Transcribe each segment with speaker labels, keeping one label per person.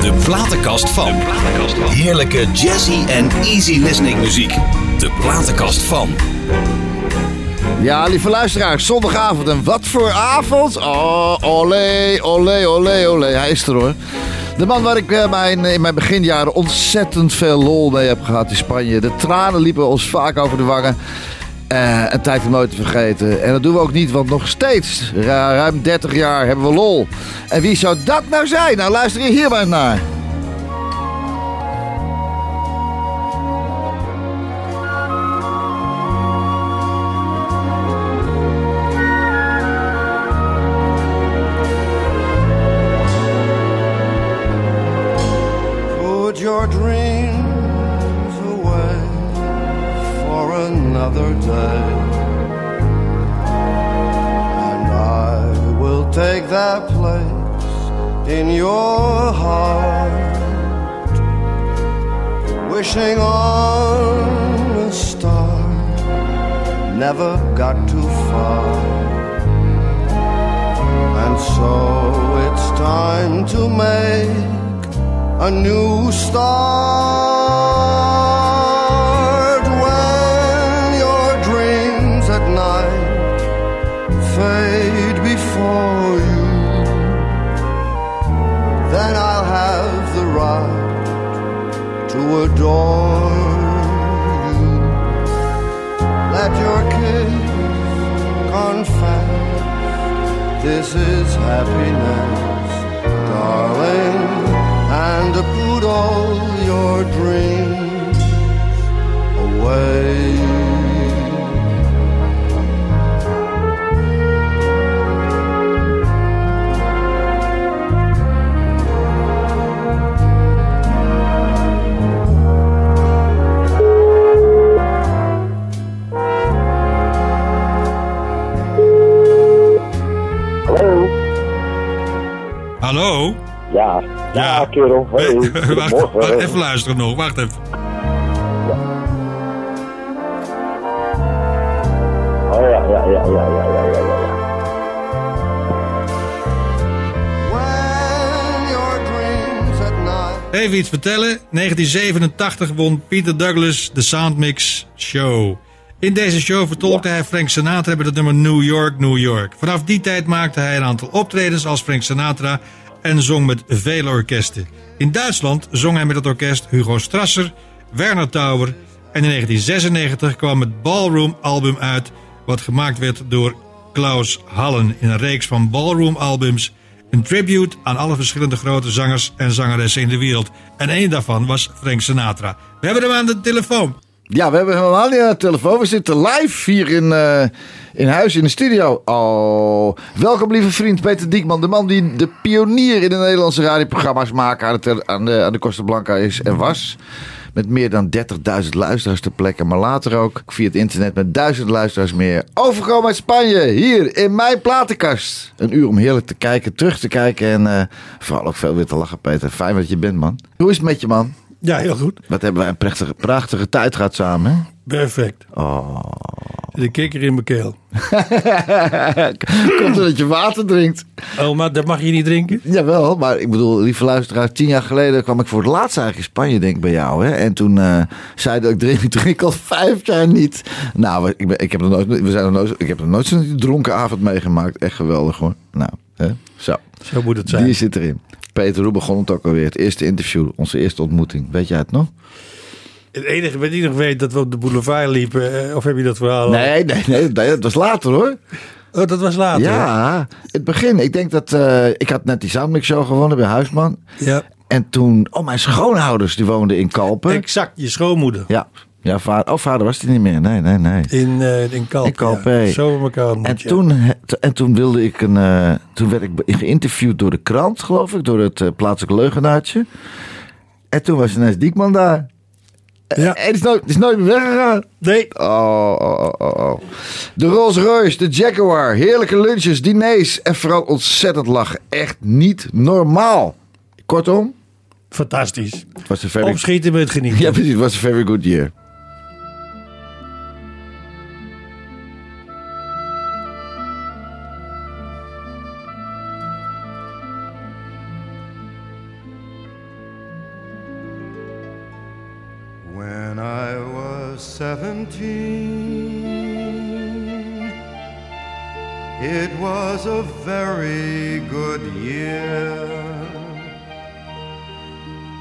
Speaker 1: De platenkast van. Heerlijke jazzy en easy listening muziek. De platenkast van.
Speaker 2: Ja, lieve luisteraars, zondagavond en wat voor avond? Oh, olé, olé, olé, olé. Hij is er hoor. De man waar ik eh, mijn, in mijn beginjaren ontzettend veel lol mee heb gehad in Spanje. De tranen liepen ons vaak over de wangen. Eh, een tijd om nooit te vergeten. En dat doen we ook niet, want nog steeds, ra- ruim 30 jaar, hebben we lol. En wie zou dat nou zijn? Nou, luister je hier maar eens naar.
Speaker 3: Put your dreams away for another day. And I will take that place in your heart. Wishing on a star never got too far. And so it's time to make a new start when your dreams at night fade before you. Then I'll have the right to adore you. Let your kiss confess this is happiness, darling, and put all your dreams away.
Speaker 4: Hallo?
Speaker 5: Hallo?
Speaker 4: Ja. Ja,
Speaker 5: Ja.
Speaker 4: kerel. Hey.
Speaker 5: wacht,
Speaker 4: Goedemorgen.
Speaker 5: wacht, even luisteren nog, wacht even.
Speaker 4: Oh ja, ja, ja, ja, ja, ja, ja, ja.
Speaker 3: When your dreams at night
Speaker 5: Even iets vertellen. 1987 won Peter Douglas de Soundmix Show. In deze show vertolkte hij Frank Sinatra met het nummer New York, New York. Vanaf die tijd maakte hij een aantal optredens als Frank Sinatra en zong met vele orkesten. In Duitsland zong hij met het orkest Hugo Strasser, Werner Tauber en in 1996 kwam het Ballroom album uit wat gemaakt werd door Klaus Hallen in een reeks van Ballroom albums een tribute aan alle verschillende grote zangers en zangeressen in de wereld. En één daarvan was Frank Sinatra. We hebben hem aan de telefoon.
Speaker 2: Ja, we hebben helemaal niet aan de telefoon. We zitten live hier in, eh, in huis in de studio. Oh, welkom lieve vriend Peter Diekman. De man die de pionier in de Nederlandse radioprogramma's maken aan de, tele- aan de, aan de Costa Blanca is en was. Met meer dan 30.000 luisteraars ter plekke, maar later ook via het internet met duizend luisteraars meer. Overgekomen uit Spanje, hier in mijn platenkast. Een uur om heerlijk te kijken, terug te kijken en eh, vooral ook veel weer te lachen, Peter. Fijn dat je bent, man. Hoe is het met je, man?
Speaker 6: Ja, heel goed.
Speaker 2: Wat hebben wij een prachtige, prachtige tijd gehad samen, hè? Oh.
Speaker 6: Perfect. De kikker in mijn keel.
Speaker 2: Komt omdat je water drinkt.
Speaker 6: Oh, maar dat mag je niet drinken?
Speaker 2: Jawel, maar ik bedoel, lieve luisteraar, tien jaar geleden kwam ik voor het laatst eigenlijk in Spanje, denk ik, bij jou. Hè? En toen eh, zei dat ik drink, ik drink al vijf jaar niet. Nou, we- ik, ben, ik heb nog nooit, we zijn nog nooit, ik heb nog nooit zo'n dronken avond meegemaakt. Echt geweldig hoor. Nou, hè? zo.
Speaker 6: Zo moet het
Speaker 2: Die
Speaker 6: zijn.
Speaker 2: zit erin. Peter, hoe begon het ook alweer? Het eerste interview, onze eerste ontmoeting. Weet jij het nog?
Speaker 6: Het enige wat ik nog weet, dat we op de boulevard liepen. eh, Of heb je dat verhaal al?
Speaker 2: Nee, nee, nee, nee, dat was later hoor.
Speaker 6: Oh, dat was later.
Speaker 2: Ja, het begin. Ik denk dat, eh, ik had net die Soundmix Show gewonnen bij Huisman.
Speaker 6: ja.
Speaker 2: En toen, oh, mijn schoonouders die woonden in Kalpen.
Speaker 6: Exact, je schoonmoeder.
Speaker 2: Ja, ja vader, oh, vader was die niet meer. Nee, nee, nee.
Speaker 6: In, eh, in Kalp.
Speaker 2: In Kalp,
Speaker 6: ja.
Speaker 2: hey.
Speaker 6: Zo met elkaar ontmoet,
Speaker 2: En
Speaker 6: ja.
Speaker 2: toen, he- t- en toen wilde ik een. eh, toen werd ik be- geïnterviewd door de krant, geloof ik, door het eh, plaatselijke leugenaartje. En toen was ineens Diekman daar.
Speaker 6: Ja.
Speaker 2: En die is nooit, die is nooit meer weggegaan.
Speaker 6: Nee,
Speaker 2: Oh, oh, oh, oh, oh. De Rolls Royce, de Jaguar, heerlijke lunches, diners en vooral ontzettend lachen. Echt niet normaal. Kortom,
Speaker 6: fantastisch.
Speaker 2: het was een very,
Speaker 6: Opschieten met genieten.
Speaker 2: ja, precies, het was een very good year.
Speaker 3: seventeen. It was a very good year.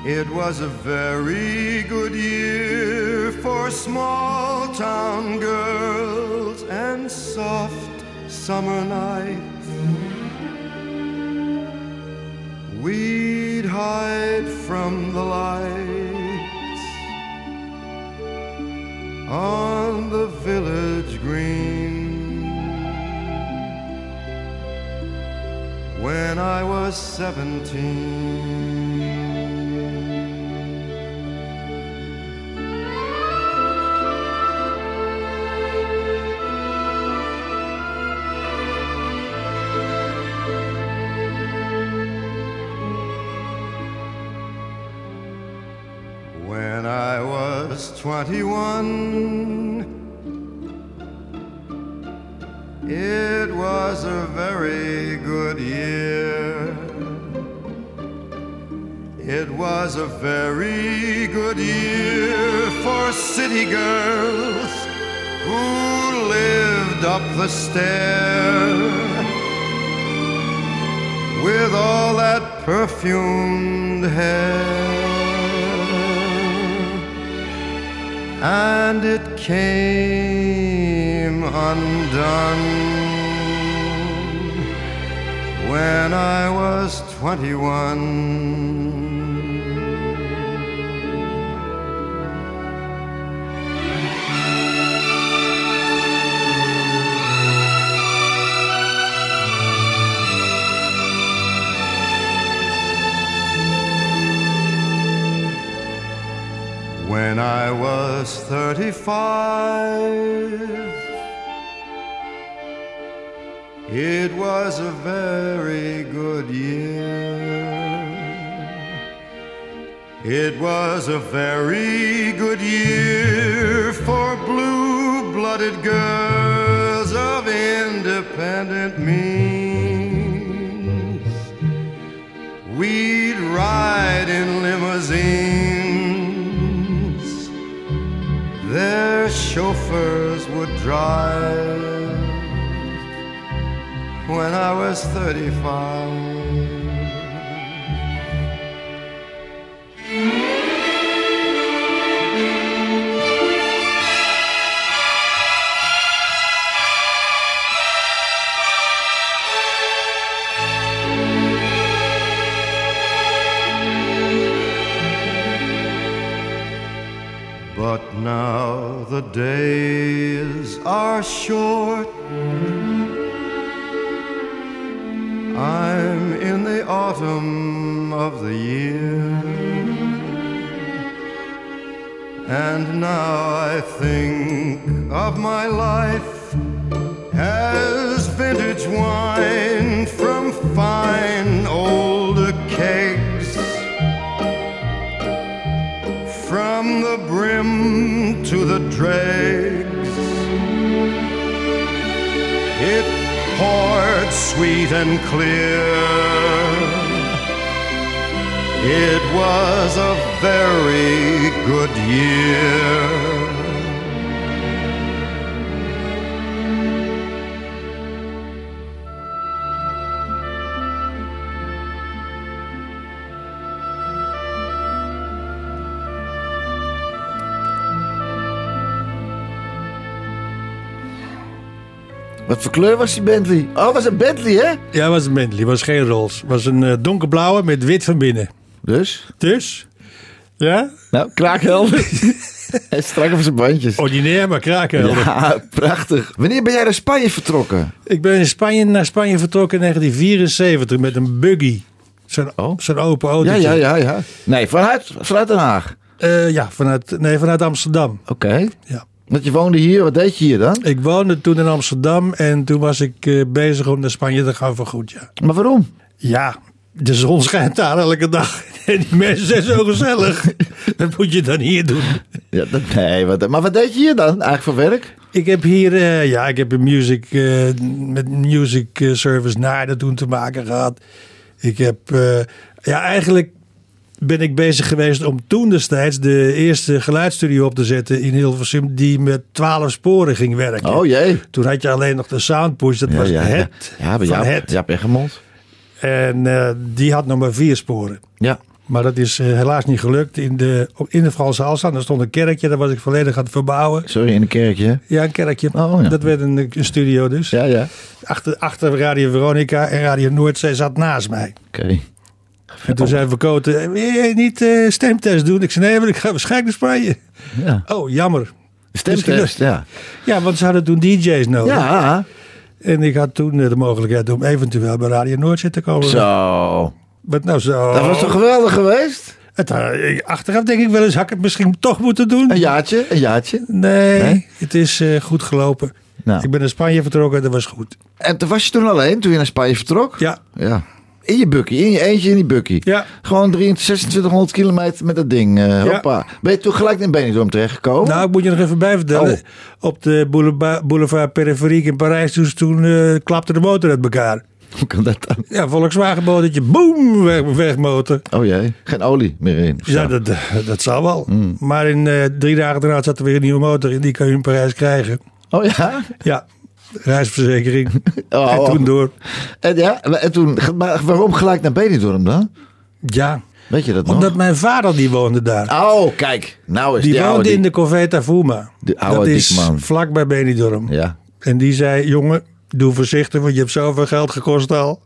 Speaker 3: It was a very good year for small town girls and soft summer nights. We'd hide from the lights on the village green. When I was seventeen. When I was 21, it was a very good year. It was a very good year for city girls who lived up the stair with all that perfumed hair. And it came undone when I was 21. When I was 35, it was a very good year. It was a very good year for blue blooded girls of independent means. We'd ride in limousines. Their chauffeurs would drive when I was 35. But now the days are short. I'm in the autumn of the year. And now I think of my life as vintage wine from fine older kegs from the brim to the dregs. It poured sweet and clear. It was a very good year.
Speaker 2: Wat voor kleur was die Bentley? Oh, was een Bentley, hè?
Speaker 6: Ja, het was een Bentley, was geen Rolls. was een eh, donkerblauwe met wit van binnen.
Speaker 2: Dus?
Speaker 6: Dus, ja,
Speaker 2: Nou, kraakhelder. en strak op zijn bandjes.
Speaker 6: ordinair maar kraken.
Speaker 2: Ja, prachtig. Wanneer ben jij naar Spanje vertrokken?
Speaker 6: Ik ben in Spanje, naar Spanje vertrokken in 1974 met een buggy. Zo'n
Speaker 2: Oh.
Speaker 6: zo'n open auto.
Speaker 2: Ja, ja, ja, ja. Nee, vanuit, vanuit Den Haag.
Speaker 6: Eh, ja vanuit, nee, vanuit Amsterdam.
Speaker 2: Oké.
Speaker 6: Ja.
Speaker 2: Want je woonde hier, wat deed je hier dan?
Speaker 6: Ik woonde toen in Amsterdam en toen was ik eh, bezig om naar Spanje te gaan voor goed. Ja.
Speaker 2: Maar waarom?
Speaker 6: ja, de zon schijnt daar elke dag. En die mensen zijn zo gezellig. Dat moet je dan hier doen.
Speaker 2: Ja, dat, nee, wat, maar wat deed je hier dan eigenlijk voor werk?
Speaker 6: Ik heb hier, eh, ja, ik heb een music, eh, met music eh, service naar dat toen te maken gehad. Ik heb, eh, ja, eigenlijk ben ik bezig geweest om toen destijds de eerste geluidsstudio op te zetten in Hilversum die met twaalf sporen ging werken.
Speaker 2: Oh jee.
Speaker 6: Toen had je alleen nog de soundpush, dat
Speaker 2: Ja,
Speaker 6: was
Speaker 2: ja, ja.
Speaker 6: het
Speaker 2: Ja, bij
Speaker 6: van
Speaker 2: Jaap,
Speaker 6: het.
Speaker 2: Jaap Eggermond.
Speaker 6: En eh, die had nog maar vier sporen.
Speaker 2: Ja.
Speaker 6: Maar dat is eh, helaas niet gelukt. In de, op- in de Franse Alstaan, daar stond een kerkje, daar was ik volledig aan het verbouwen.
Speaker 2: Sorry, in een kerkje. hè?
Speaker 6: Ja, een kerkje.
Speaker 2: Oh, ja.
Speaker 6: Dat werd een, een studio dus.
Speaker 2: Ja, ja.
Speaker 6: Achter, achter Radio Veronica en Radio Noordzee zat naast mij.
Speaker 2: Oké.
Speaker 6: En toen zei Verkoten, eh, wil jij niet eh, stemtest doen? Ik zei, nee, maar ik ga waarschijnlijk naar Spanje.
Speaker 2: Ja.
Speaker 6: Oh, jammer. Dus-
Speaker 2: Stemtest, ja.
Speaker 6: Ja, want ze hadden toen DJ's nodig.
Speaker 2: Ja.
Speaker 6: En ik had toen eh, de mogelijkheid om eventueel bij Radio Noordzee te komen.
Speaker 2: Zo.
Speaker 6: Maar nou zo.
Speaker 2: Dat was toch geweldig geweest?
Speaker 6: Het, eh, achteraf denk ik wel eens, had ik het misschien toch moeten doen?
Speaker 2: Een jaartje, een jaartje.
Speaker 6: Nee,
Speaker 2: Nee?
Speaker 6: het is eh, goed gelopen.
Speaker 2: Nou.
Speaker 6: Ik ben naar Spanje vertrokken, dat was goed.
Speaker 2: En toen was je toen alleen, toen je naar Spanje vertrok?
Speaker 6: Ja,
Speaker 2: Ja. In je bukkie, in je eentje in die bukkie.
Speaker 6: Ja.
Speaker 2: Gewoon 2600 kilometer met dat ding. eh,
Speaker 6: Ja.
Speaker 2: Hoppa. Ben je toen gelijk in Benidorm terechtgekomen?
Speaker 6: nou, ik moet je nog even bij vertellen.
Speaker 2: Oh.
Speaker 6: Op de bouleva- boulevard Periferiek in Parijs, dus toen eh, klapte de motor uit elkaar.
Speaker 2: Hoe kan dat dan?
Speaker 6: Ja, Volkswagen motortje, boem, weg, wegmotor.
Speaker 2: Oh jee, geen olie meer in. of
Speaker 6: Ja,
Speaker 2: zo. Hmm.
Speaker 6: dat, eh, dat zal wel. Maar in eh, drie dagen daarna zat er weer een nieuwe motor in. Die kan je in Parijs krijgen.
Speaker 2: Oh ja?
Speaker 6: Ja, reisverzekering.
Speaker 2: Oh,
Speaker 6: en toen
Speaker 2: oh.
Speaker 6: door.
Speaker 2: En, ja, en toen, maar waarom gelijk naar Benidorm dan?
Speaker 6: Ja,
Speaker 2: Weet je dat nog?
Speaker 6: omdat mijn vader die woonde daar.
Speaker 2: Oh, kijk. Nou is
Speaker 6: Die,
Speaker 2: oude
Speaker 6: woonde
Speaker 2: dik-
Speaker 6: in de Corvette Fuma.
Speaker 2: Die oude
Speaker 6: Dat is
Speaker 2: dikman.
Speaker 6: vlak bij Benidorm.
Speaker 2: Ja.
Speaker 6: En die zei, jongen, doe voorzichtig, want je hebt zoveel geld gekost al.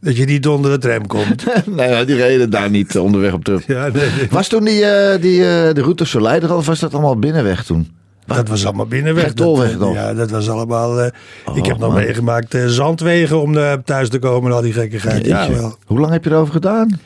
Speaker 6: dat je niet onder de tram komt.
Speaker 2: nou ja, die reden daar niet onderweg op terug.
Speaker 6: Ja, nee, nee.
Speaker 2: Was toen die, eh, die, eh, de route Soleil er al of was dat allemaal binnenweg toen?
Speaker 6: Dat was allemaal binnenweg.
Speaker 2: Echt tolweg
Speaker 6: Dat, eh,
Speaker 2: nog? Oh,
Speaker 6: Ja, dat was allemaal... eh, ik heb nog
Speaker 2: man.
Speaker 6: meegemaakt eh, zandwegen om naar thuis te komen en al die gekkigheid. Ja,
Speaker 2: Jeetje.
Speaker 6: wel.
Speaker 2: Hoe lang heb je erover gedaan?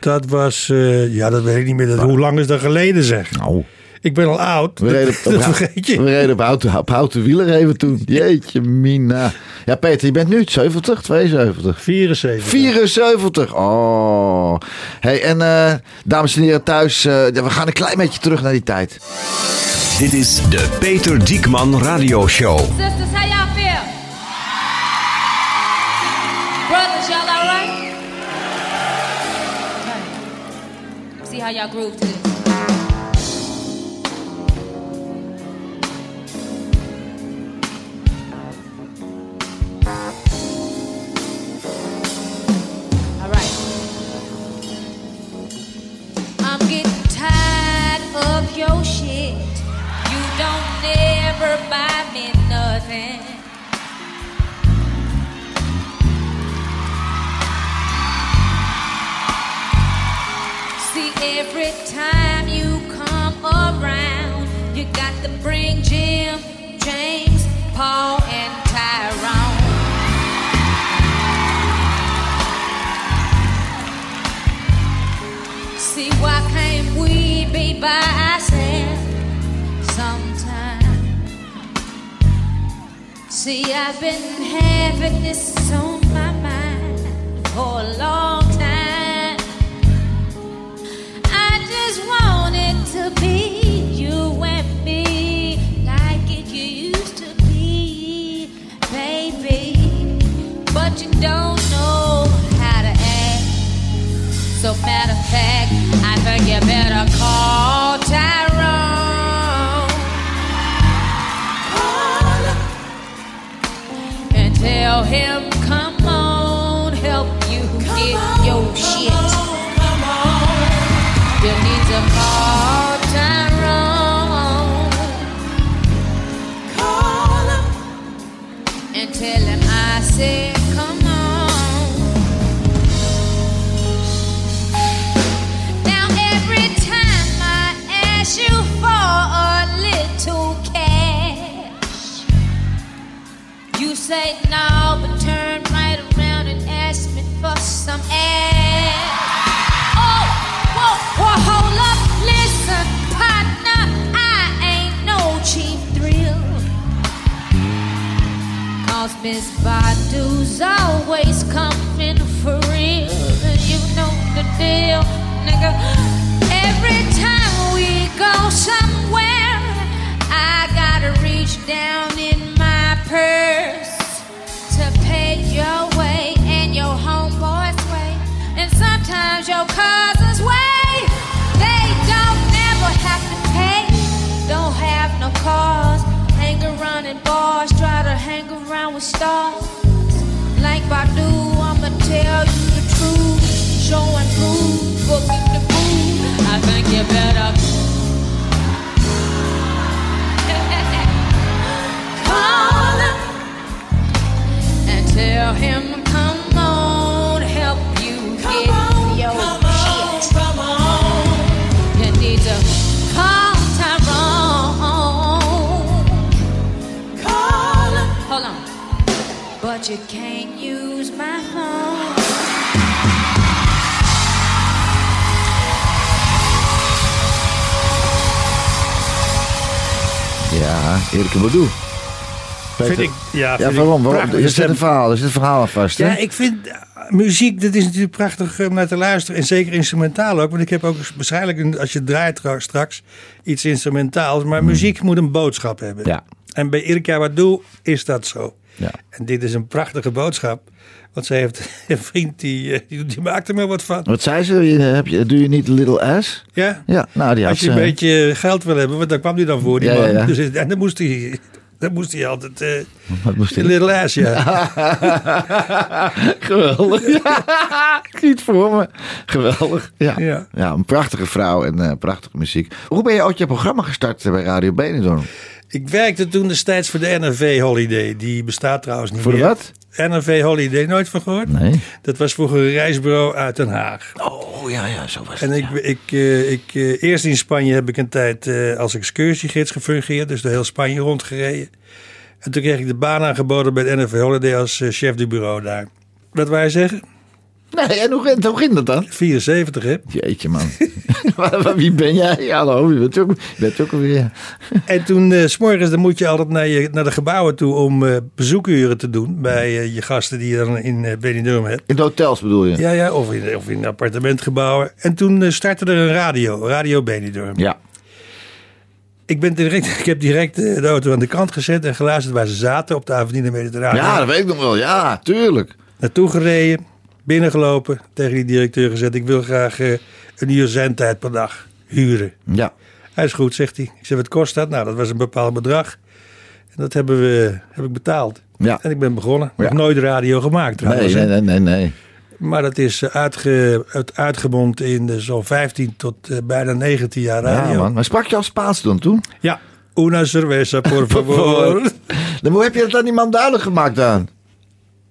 Speaker 6: Dat was... eh, ja, dat weet ik niet meer. Dat- hoe lang is dat geleden zeg?
Speaker 2: Nou,
Speaker 6: Ik ben al oud.
Speaker 2: we
Speaker 6: Dat,
Speaker 2: reden op,
Speaker 6: dat vergeet je.
Speaker 2: We reden op houten, op houten wieler even toen. Jeetje, Mina. Ja, Peter, je bent nu 70, 72.
Speaker 6: 74.
Speaker 2: 74. Oh. Hey, en eh, dames en heren thuis, eh, we gaan een klein beetje terug naar die tijd.
Speaker 1: Dit is de Peter Diekman Radio Show.
Speaker 7: Sisters, how y'all feel? Brothers, y'all all right? Alright. See how y'all groove to this. All right. I'm getting tired of your shit. You don't never buy me nothing. See, every time you come around, you got to bring Jim, James, Paul, and Tyrone. See, why can't we be by ourselves sometime? See, I've been having this on my mind for a long time. I just want it to be you and me, like it used to be, baby. But you don't know how to act. So matter of fact, I think you better call Tyrone. Call him and tell him, come on, help you get your shit. You need to call Tyrone. Call him and tell him I said, come on. Now every time I ask you for a little cash, you say no, but turn right around and ask me for some ass. Oh, whoa, whoa, hold up, listen, partner, I ain't no cheap thrill. 'Cause Miss Badu's always coming for real. And you know the deal, nigga. Every time we go somewhere, I gotta reach down in my purse to pay your way and your homeboy's way. And sometimes your cousin's with stars. Like Badu, I'ma tell you the truth. Show and prove, booking the food. I think you better call him and tell him, come on, help you get your shit. You need to call Tyrone. Hold on. But you can't use my phone.
Speaker 2: Ja, Erika Badu.
Speaker 6: Vind
Speaker 2: Peter-
Speaker 6: ik, ja,
Speaker 2: Ja,
Speaker 6: vind
Speaker 2: waarom? waarom?
Speaker 6: ik prachtige
Speaker 2: Er zit
Speaker 6: stem.
Speaker 2: een verhaal, er zit een verhaal aan vast, hè?
Speaker 6: Ja, ik vind eh, muziek, dat is natuurlijk prachtig om naar te luisteren. En zeker instrumentaal ook. Want ik heb ook waarschijnlijk, een- als je draait tra- straks, iets instrumentaals. Maar muziek moet een boodschap hebben.
Speaker 2: Hmm. Ja.
Speaker 6: En bij Irka Wadou is dat zo.
Speaker 2: Ja.
Speaker 6: En dit is een prachtige boodschap. Want ze heeft een vriend die, eh, die, die maakt er maar wat van.
Speaker 2: Wat zei ze? Je- Heb je, doe je niet Little Ass?
Speaker 6: Ja?
Speaker 2: Ja, nou die had
Speaker 6: Als je
Speaker 2: ze-
Speaker 6: een beetje geld wil hebben, want daar kwam hij dan voor, die
Speaker 2: Ja, ja,
Speaker 6: man.
Speaker 2: ja.
Speaker 6: Dus, het- en dan moest hij, dan moest hij altijd... eh
Speaker 2: Wat moest
Speaker 6: de
Speaker 2: ik?
Speaker 6: little ass, ja.
Speaker 2: Geweldig. Ja, Niet voor me. Geweldig. Ja.
Speaker 6: Ja.
Speaker 2: Ja. een prachtige vrouw en eh, prachtige muziek. Hoe ben je ooit je programma gestart bij Radio Benidorm?
Speaker 6: Ik werkte toen destijds voor de NRV Holiday. Die bestaat trouwens niet
Speaker 2: Voor de
Speaker 6: meer.
Speaker 2: wat?
Speaker 6: NRV Holiday, nooit van gehoord?
Speaker 2: Nee.
Speaker 6: Dat was vroeger een reisbureau uit Den Haag.
Speaker 2: Oh ja, ja, zo was
Speaker 6: En ik, ik, eh, ik, eh, eerst in Spanje heb ik een tijd eh, als excursiegids gefungeerd. Dus door heel Spanje rondgereden. En toen kreeg ik de baan aangeboden bij de NRV Holiday als eh, chef du bureau daar. Wat wij zeggen?
Speaker 2: Nee, en hoe, ging- hoe ging dat dan?
Speaker 6: 74, hè?
Speaker 2: Jeetje, man. Waar- waar- wie ben jij? Hallo, je bent ook, je bent ook weer.
Speaker 6: En toen, eh, s s'morgens, dan moet je altijd naar, je, naar de gebouwen toe om eh, bezoekuren te doen. Bij eh, je gasten die je dan in eh Benidorm hebt.
Speaker 2: In de hotels bedoel je?
Speaker 6: Ja, ja, of in, of in appartementgebouwen. En toen eh, startte er een radio, Radio Benidorm.
Speaker 2: Ja.
Speaker 6: Ik, ben direct, ik heb direct eh, de auto aan de kant gezet en geluisterd waar ze zaten op de Avenida Mediterrane.
Speaker 2: Ja, dat weet ik nog wel. Ja, tuurlijk.
Speaker 6: Naartoe gereden, binnengelopen, tegen die directeur gezet. Ik wil graag eh, een uur zendtijd per dag huren.
Speaker 2: Ja.
Speaker 6: Hij is goed, zegt hij. Ik zeg, wat kost dat? Nou, dat was een bepaald bedrag. En dat hebben we, heb ik betaald.
Speaker 2: Ja.
Speaker 6: En ik ben begonnen. Ik heb
Speaker 2: Ja.
Speaker 6: nooit radio gemaakt trouwens.
Speaker 2: Nee,
Speaker 6: hè.
Speaker 2: nee, nee, nee. nee.
Speaker 6: Maar dat is eh, uitge, uit, uitgebond in eh, zo'n 15 tot eh, bijna 19 jaar radio.
Speaker 2: Ja, man. Maar sprak je al Spaans dan toen?
Speaker 6: Ja. Una cerveza, por favor.
Speaker 2: Dan, hoe heb je dat aan die man duidelijk gemaakt dan?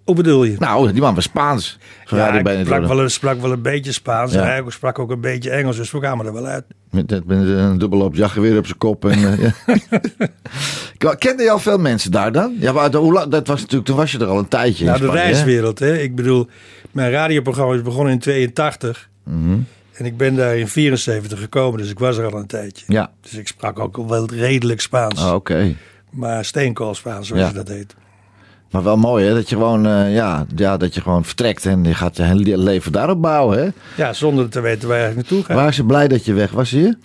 Speaker 6: Hoe bedoel je?
Speaker 2: Nou, die man was Spaans. Van Radio
Speaker 6: ik sprak
Speaker 2: Benidorm.
Speaker 6: wel, een- sprak wel een beetje Spaans.
Speaker 2: Ja.
Speaker 6: En hij ook- sprak ook een beetje Engels, dus we kwamen er wel uit.
Speaker 2: Met, met met een dubbelop jachtgeweer op zijn kop. En, eh, ja. Kende je al veel mensen daar dan? Ja, maar hoe lang, dat was natuurlijk, toen was je er al een tijdje in
Speaker 6: Nou, de
Speaker 2: Spanje, hè?
Speaker 6: reiswereld, hè. Ik bedoel, mijn radioprogramma is begonnen in 82.
Speaker 2: Mhm.
Speaker 6: En ik ben daar in 74 gekomen, dus ik was er al een tijdje.
Speaker 2: Ja.
Speaker 6: Dus ik sprak ook wel redelijk Spaans.
Speaker 2: Oh, Oké.
Speaker 6: Maar steenkool Spaans, zoals
Speaker 2: Ja.
Speaker 6: je dat heet.
Speaker 2: Maar wel mooi hè, dat je gewoon, eh, ja, ja, dat je gewoon vertrekt en je gaat je hele le- leven daarop bouwen hè.
Speaker 6: Ja, zonder te weten waar ik naartoe ga.
Speaker 2: Waar ze blij dat je weg was hier?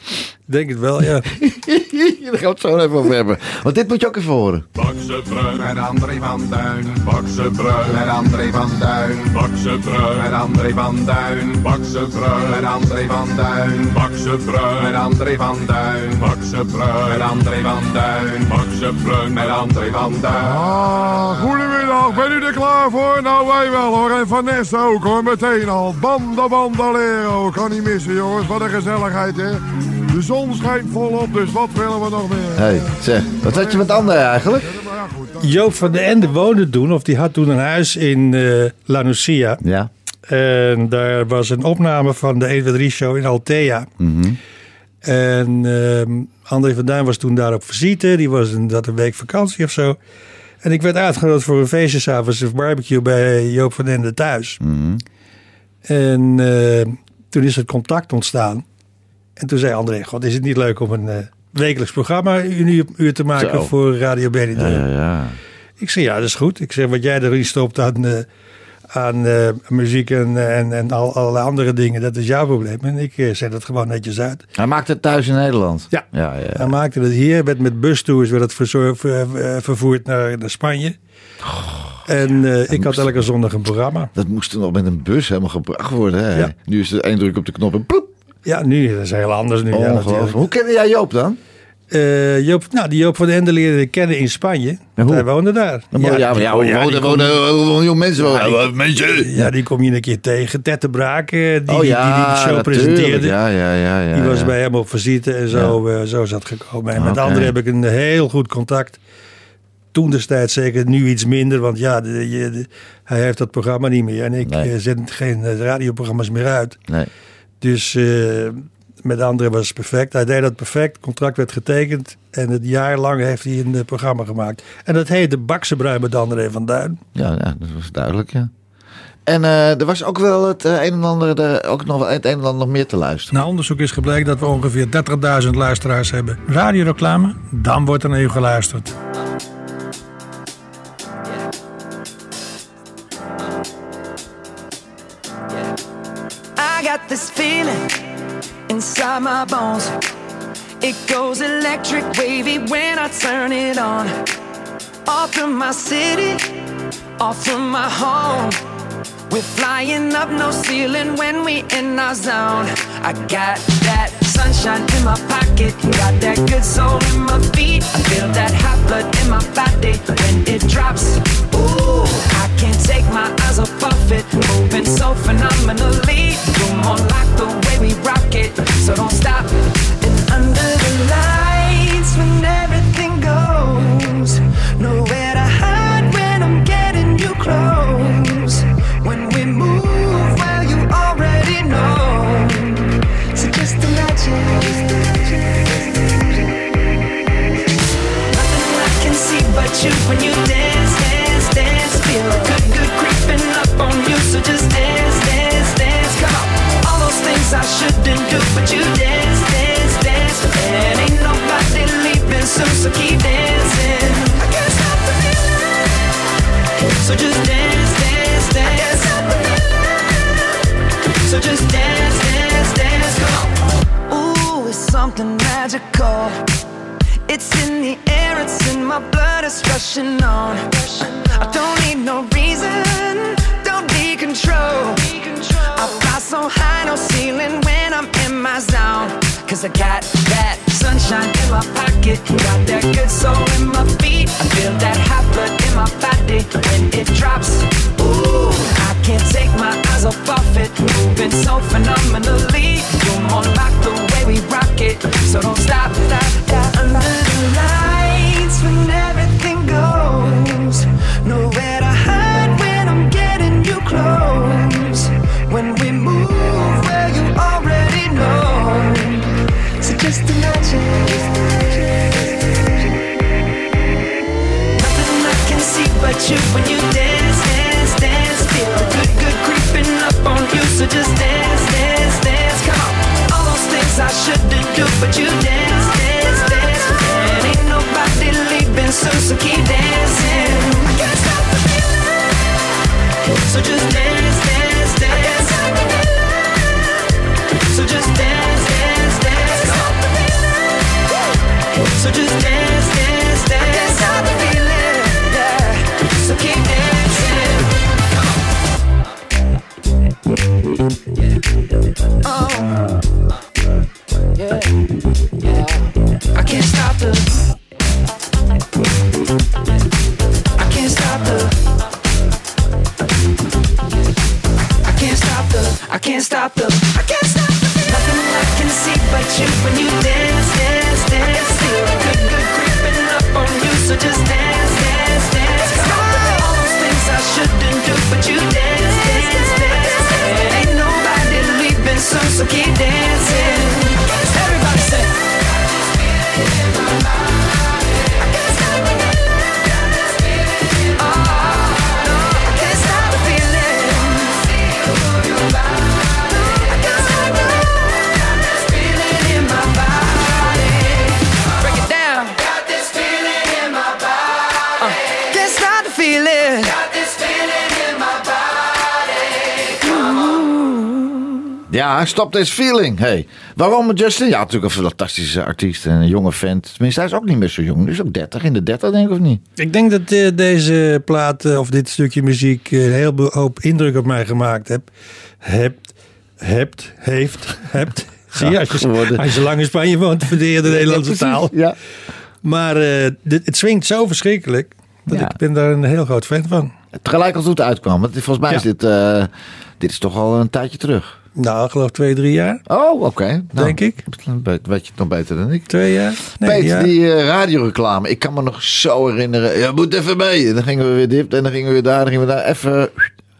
Speaker 6: Ik Denk het wel, ja.
Speaker 2: Daar gaan we het zo even over hebben. Want dit moet je ook even horen.
Speaker 8: Pak ze bruin,
Speaker 9: Met André van Duin,
Speaker 8: pak ze bruin,
Speaker 9: met André van Duin,
Speaker 8: pak ze
Speaker 9: met
Speaker 8: bruin,
Speaker 9: André van Duin,
Speaker 8: pak ze
Speaker 9: met
Speaker 8: bruin,
Speaker 9: André van Duin,
Speaker 8: pak ze
Speaker 9: met
Speaker 8: bruin,
Speaker 9: André van Duin,
Speaker 8: pak ze
Speaker 9: met
Speaker 8: bruin,
Speaker 9: André van Duin,
Speaker 8: pak ze bruin,
Speaker 9: met André van Duin.
Speaker 8: Ah, goedemiddag, ben u er klaar voor? Nou, wij wel hoor. En Vanessa ook hoor, meteen al. Banda bandalero, kan niet missen jongens. Wat een gezelligheid hè. De zon schijnt volop, dus wat willen we nog meer?
Speaker 2: Hé, hey, zeg, wat had je met André eigenlijk?
Speaker 8: Maar ja, goed, dan-
Speaker 6: Joop van den Ende woonde toen, of die had toen een huis in eh La Nucia.
Speaker 2: Ja,
Speaker 6: En daar was een opname van de 123 show in Altea. En ehm, André van Duin was toen daar op visite. Die was een, dat een week vakantie of zo. En ik werd uitgenodigd voor een feestje s'avonds, een barbecue bij Joop van den Ende thuis.
Speaker 2: Hm.
Speaker 6: En ehm, toen is het contact ontstaan. En toen zei André, god, is het niet leuk om een eh, wekelijks programma een uur, uur te maken
Speaker 2: Zo.
Speaker 6: voor Radio Benidorm?
Speaker 2: ja, ja.
Speaker 6: Ik zei, ja, dat is goed. Ik zeg, wat jij erin stopt aan, eh, aan eh, muziek en, eh, en, en al, allerlei andere dingen, dat is jouw probleem. En ik eh, zet het gewoon netjes uit.
Speaker 2: Hij maakte het thuis in Nederland.
Speaker 6: Ja.
Speaker 2: ja, ja.
Speaker 6: Hij maakte het hier, werd met bustours werd het verzor- ver- ver- vervoerd naar, naar Spanje.
Speaker 2: Oh,
Speaker 6: en eh, ik had elke zondag een programma.
Speaker 2: Dat moest toen nog met een bus helemaal gebracht worden. Hè?
Speaker 6: Ja.
Speaker 2: Nu is er één druk op de knop en ploep.
Speaker 6: Ja, nu dat is heel anders. Nu, ja,
Speaker 2: Ongelooflijk.
Speaker 6: natuurlijk.
Speaker 2: Hoe kende jij Joop dan?
Speaker 6: eh, Joop, nou, die Joop van den Ende leerde ik kennen in Spanje.
Speaker 2: En hoe?
Speaker 6: Hij woonde daar.
Speaker 2: Dan moet- ja, maar oh, ja,
Speaker 6: die
Speaker 2: ja,
Speaker 6: kom-
Speaker 2: wonen miljoen mensen. wonen. Ja, mensen.
Speaker 6: ja, die kom je een keer tegen. Tette Braak, eh, die, die,
Speaker 2: Oh
Speaker 6: die,
Speaker 2: ja,
Speaker 6: die de show
Speaker 2: natuurlijk.
Speaker 6: presenteerde.
Speaker 2: Ja, ja, ja, ja.
Speaker 6: Die was
Speaker 2: ja.
Speaker 6: bij hem op visite en zo, eh, zo is dat gekomen. En met
Speaker 2: Oké.
Speaker 6: anderen heb ik een heel goed contact. Toen destijds zeker, nu iets minder. Want ja, de- je- de- hij heeft dat programma niet meer. En ik
Speaker 2: Nee.
Speaker 6: eh, zend geen eh, radioprogramma's meer uit.
Speaker 2: Nee.
Speaker 6: Dus eh, met anderen was het perfect. Hij deed dat perfect. Contract werd getekend. En het jaar lang heeft hij een eh, programma gemaakt. En dat heette Bakse Bruin met André van Duin.
Speaker 2: Ja, ja, dat was duidelijk, ja. En eh, er was ook wel het eh, een en ander, eh, ook nog wel het een en ander nog meer te luisteren.
Speaker 10: Na onderzoek is gebleken dat we ongeveer 30.000 luisteraars hebben. Radioreclame, dan wordt er naar u geluisterd.
Speaker 11: I got this feeling inside my bones. It goes electric wavy when I turn it on. Off from my city, off from my home. We're flying up no ceiling when we in our zone. I got that sunshine in my pocket, got that good soul in my feet. I feel that hot blood in my body when it drops. Ooh, I can't take my eyes off of it, moving so phenomenally. You're more like the way we rock it, so don't stop. And under the lights when everything goes, nowhere to hide when I'm getting you close. When we move, well, you already know. So just imagine. Nothing I can see but you when you dance, dance, dance. Feel the good, good creeping up on you. So just dance, dance, dance. Come on. All those things I shouldn't do, but you dance, dance, dance. And ain't nobody leaving soon, so keep dancing. I can't stop the feeling. So just dance, dance, dance. I can't stop the feeling. So just dance, dance, dance. Come on. Ooh, it's something magical. It's in the air, it's in my blood, it's rushing on. I don't need no reason, don't be control. I fly so high, no ceiling when I'm in my zone. Cause I got that sunshine in my pocket, got that good soul in my feet. I feel that hot blood in my body when it drops. Ooh, I can't take my eyes off of it, moving so phenomenally. You're more like the way we rock it, so don't stop. stop, stop. Under the lights when everything goes, nowhere to hide when I'm getting you close. When we move, well, you already know. So just imagine. Nothing I can see but you when you dance, dance, dance. Feel the good, good creeping up on you. So just dance, dance, dance. Come on. All those things I shouldn't do, but you dance, dance, dance. And ain't nobody leaving soon, so keep dancing. I can't stop the feeling. So just dance, dance, dance. I can't stop the feeling. So just dance, dance, dance. Stop the feeling. So just dance, dance, dance. I can't stop the feeling. Yeah. So keep dancing. Oh. Yeah. Yeah. I can't stop the. I can't stop the. I can't stop the. I can't stop the. I can't stop the. Nothing I can see but you when you dance, dance, dance. Feel the good, good creeping up on you, so just dance, dance, dance. Stop all those things I shouldn't do, but you dance, dance, dance. And ain't nobody leaving soon, so keep dancing. Everybody say. Feeling. Got this feeling in my
Speaker 2: Ja, stop this feeling. Hey. Waarom Justin? Ja, natuurlijk een fantastische artiest en een jonge vent. Tenminste, hij is ook niet meer zo jong. Dus ook 30, in de 30 denk ik of niet?
Speaker 6: Ik denk dat eh, deze plaat eh, of dit stukje muziek eh, een heleboel hoop indruk op mij gemaakt heb. Hebt, hebt, heeft, hebt. Zie je, als je,
Speaker 2: geworden.
Speaker 6: als je lang in Spanje woont, verdeer je de Nederlandse
Speaker 2: precies,
Speaker 6: taal.
Speaker 2: Ja.
Speaker 6: Maar eh, dit- het swingt zo verschrikkelijk, dat
Speaker 2: Ja.
Speaker 6: ik ben daar een heel groot fan van.
Speaker 2: Gelijk als het uitkwam. Want volgens mij is
Speaker 6: Ja.
Speaker 2: dit, eh, dit is toch al een tijdje terug.
Speaker 6: Nou, ik geloof twee, drie jaar.
Speaker 2: Oh, oké. Nou,
Speaker 6: Denk ik.
Speaker 2: Weet, weet je het nog beter dan ik.
Speaker 6: Twee jaar? Nee,
Speaker 2: Peet,
Speaker 6: ja.
Speaker 2: die eh, radioreclame. Ik kan me nog zo herinneren. Je moet even mee. En dan gingen we weer dit en dan gingen we weer daar. Dan gingen we daar even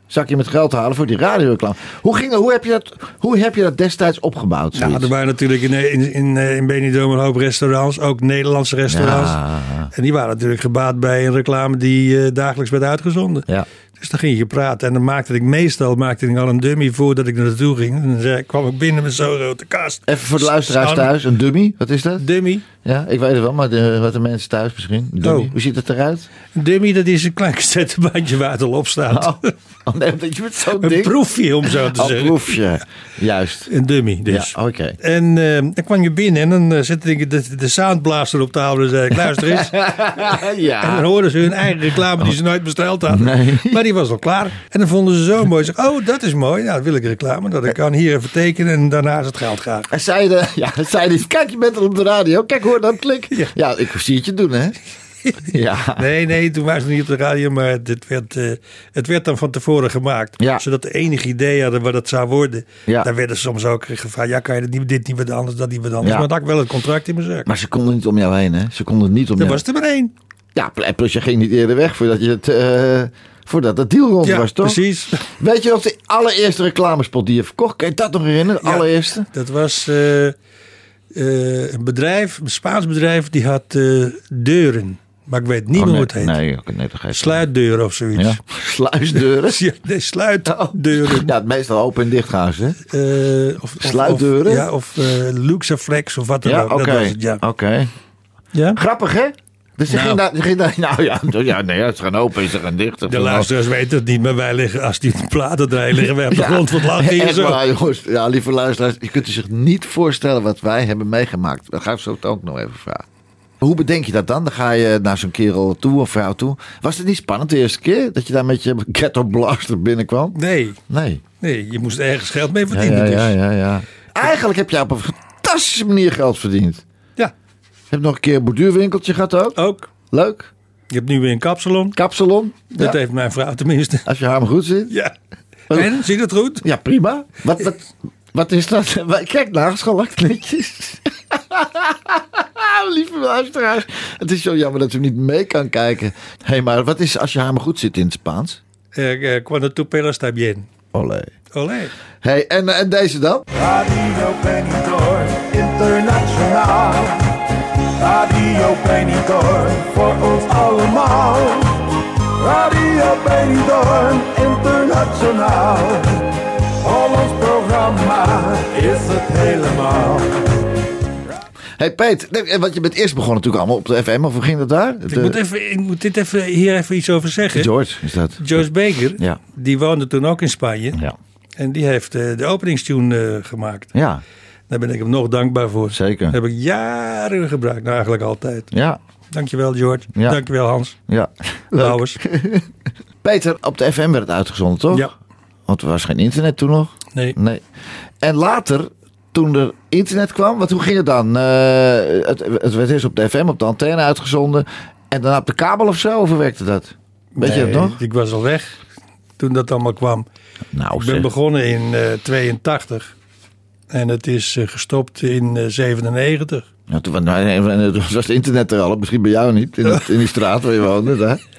Speaker 2: zakje met geld halen voor die radioreclame. Hoe, ging, hoe, heb, je dat, hoe heb je dat destijds opgebouwd?
Speaker 6: Ja,
Speaker 2: zoiets?
Speaker 6: er waren natuurlijk in, in, in, eh, in Benidorm een hoop restaurants, ook Nederlandse restaurants.
Speaker 2: Ja.
Speaker 6: En die waren natuurlijk gebaat bij een reclame die eh, dagelijks werd uitgezonden.
Speaker 2: Ja.
Speaker 6: Dus dan ging je praten en dan maakte ik meestal maakte ik al een dummy voordat ik naartoe ging. En dan zei- kwam ik binnen met zo'n grote kast.
Speaker 2: Even voor de luisteraars
Speaker 6: Staan-
Speaker 2: thuis. Een dummy. Wat is dat?
Speaker 6: Dummy.
Speaker 2: Ja, ik weet het wel. Maar de, wat de mensen thuis misschien. Dummy.
Speaker 6: Oh.
Speaker 2: Hoe ziet het eruit?
Speaker 6: Een dummy, dat is een klein cassettebandje waar het al op staat.
Speaker 2: Oh, oh nee, dat je met zo'n
Speaker 6: een
Speaker 2: ding...
Speaker 6: proefje, om zo te
Speaker 2: Al
Speaker 6: zeggen.
Speaker 2: Oh, proefje. Juist.
Speaker 6: Een dummy dus.
Speaker 2: Ja, oké.
Speaker 6: En eh, dan kwam je binnen en dan eh, zette ik de, de soundblaster op tafel en zei ik, luister eens. En dan
Speaker 2: ja.
Speaker 6: hoorden ze hun eigen reclame die ze nooit besteld hadden.
Speaker 2: Nee.
Speaker 6: Maar die was al klaar. En dan vonden ze zo mooi. Ze Zeggen, oh, dat is mooi. Nou, dat wil ik reclame. Dat ik kan hier even tekenen en daarna is het geld graag.
Speaker 2: En zeiden, ja, zeiden, kijk, je bent er op de radio. Kijk, hoor dan klik. Ja,
Speaker 6: Ja.
Speaker 2: ik zie het je doen, hè? Ja.
Speaker 6: Nee, nee, toen waren ze niet op de radio, maar het werd, eh, het werd dan van tevoren gemaakt.
Speaker 2: Ja.
Speaker 6: Zodat de enige idee hadden wat het zou worden.
Speaker 2: Ja.
Speaker 6: Daar werden ze soms ook gevraagd, ja, kan je dit niet, dit niet wat anders, dat niet wat anders.
Speaker 2: Ja.
Speaker 6: Maar dan had ik wel het contract in mijn zak.
Speaker 2: Maar ze konden niet om jou heen, hè? Ze konden niet om
Speaker 6: Dat
Speaker 2: jou
Speaker 6: was er maar één.
Speaker 2: Ja, pl- plus je ging niet eerder weg voordat je het... eh, Voordat dat deal rond
Speaker 6: Ja,
Speaker 2: was, toch?
Speaker 6: precies.
Speaker 2: Weet je nog de allereerste reclamespot die je verkocht? Kan je dat nog herinneren? De
Speaker 6: Ja.
Speaker 2: allereerste?
Speaker 6: Dat was eh, eh, een bedrijf, een Spaans bedrijf, die had eh, deuren. Maar ik weet niet meer
Speaker 2: Oh,
Speaker 6: hoe
Speaker 2: nee,
Speaker 6: het heet.
Speaker 2: Nee, oké, nee, dat geeft
Speaker 6: Sluitdeuren of zoiets.
Speaker 2: Ja.
Speaker 6: Ja.
Speaker 2: Sluisdeuren.
Speaker 6: nee, sluitdeuren.
Speaker 2: Ja, het meestal open en dicht gaan ze. hè?
Speaker 6: Eh, of, of-
Speaker 2: Sluitdeuren?
Speaker 6: Of, ja, of eh, Luxaflex of wat dan
Speaker 2: Ja,
Speaker 6: ook.
Speaker 2: oké.
Speaker 6: Dat was het, ja.
Speaker 2: Oké.
Speaker 6: ja?
Speaker 2: Grappig, hè? Dus ze
Speaker 6: Nou.
Speaker 2: ging daar, ze ging daar, nou ja, nou ja, nee, ja, ze gaan open, ze gaan dicht.
Speaker 6: De luisteraars weten het niet, maar wij liggen, als die platen draaien, liggen wij op de grond van het lachen hier
Speaker 2: Echt
Speaker 6: zo.
Speaker 2: waar, jongens. Ja, lieve luisteraars, je kunt u zich niet voorstellen wat wij hebben meegemaakt. Dat ga ik zo ook nog even vragen. Hoe bedenk je dat dan? Dan ga je naar zo'n kerel toe of vrouw toe. Was het niet spannend de eerste keer dat je daar met je ghetto blaster binnenkwam?
Speaker 6: Nee,
Speaker 2: Nee.
Speaker 6: nee, je moest ergens geld mee
Speaker 2: Ja,
Speaker 6: verdienen.
Speaker 2: ja,
Speaker 6: dus.
Speaker 2: ja, ja, ja. Eigenlijk heb jij op een fantastische manier geld verdiend.
Speaker 6: Ja,
Speaker 2: Je hebt nog een keer een borduurwinkeltje gehad ook.
Speaker 6: ook.
Speaker 2: Leuk.
Speaker 6: Je hebt nu weer een kapsalon.
Speaker 2: Kapsalon. Ja,
Speaker 6: Dat heeft mijn vrouw tenminste.
Speaker 2: Als je haar maar goed zit.
Speaker 6: Ja. En, ziet het goed?
Speaker 2: Ja, prima. Wat, wat, wat is dat? Kijk, nagelschalakt netjes. Lieve luisteraars. Het is zo jammer dat u niet mee kan kijken. Hé, hey, maar wat is als je haar maar goed zit in het Spaans?
Speaker 6: Eh, eh, Cuando tu pelo está bien.
Speaker 2: Olé.
Speaker 6: Olé.
Speaker 2: hey, en, en deze dan?
Speaker 9: Radio Benidorm Internationaal. Radio Benidorm voor ons allemaal. Radio Benidorm Internationaal. Hollands programma is het helemaal.
Speaker 2: hey, Peet, nee, eh, want je bent eerst begonnen natuurlijk allemaal op de FM, of hoe ging dat daar?
Speaker 6: Ik moet, even, ik moet dit even, hier even iets over zeggen.
Speaker 2: George, is dat?
Speaker 6: Joyce Baker,
Speaker 2: Ja.
Speaker 6: die woonde toen ook in Spanje.
Speaker 2: Ja.
Speaker 6: En die heeft eh, de openingstune eh, gemaakt.
Speaker 2: Ja,
Speaker 6: Daar ben ik hem nog dankbaar voor.
Speaker 2: Zeker.
Speaker 6: Dat heb ik jaren gebruikt, nou eigenlijk altijd.
Speaker 2: ja,
Speaker 6: Dankjewel George.
Speaker 2: Ja.
Speaker 6: Dankjewel Hans.
Speaker 2: ja.
Speaker 6: Lauwers.
Speaker 2: Peter, op de FM werd het uitgezonden, toch?
Speaker 6: Ja.
Speaker 2: Want er was geen internet toen nog.
Speaker 6: Nee.
Speaker 2: Nee. En later, toen er internet kwam, wat, hoe ging het dan? Eh, het, het werd eerst op de FM, op de antenne uitgezonden. En daarna op de kabel of zo, of hoe werkte dat? Weet je
Speaker 6: Nee,
Speaker 2: dat nog?
Speaker 6: Ik was al weg toen dat allemaal kwam.
Speaker 2: Nou,
Speaker 6: Ik ben begonnen in eh, 82. En het is eh, gestopt in eh, 97.
Speaker 2: Nou, toen, was- nee, nee, toen was het internet er al, misschien bij jou niet, in, het- in die straat waar je woonde. Daar.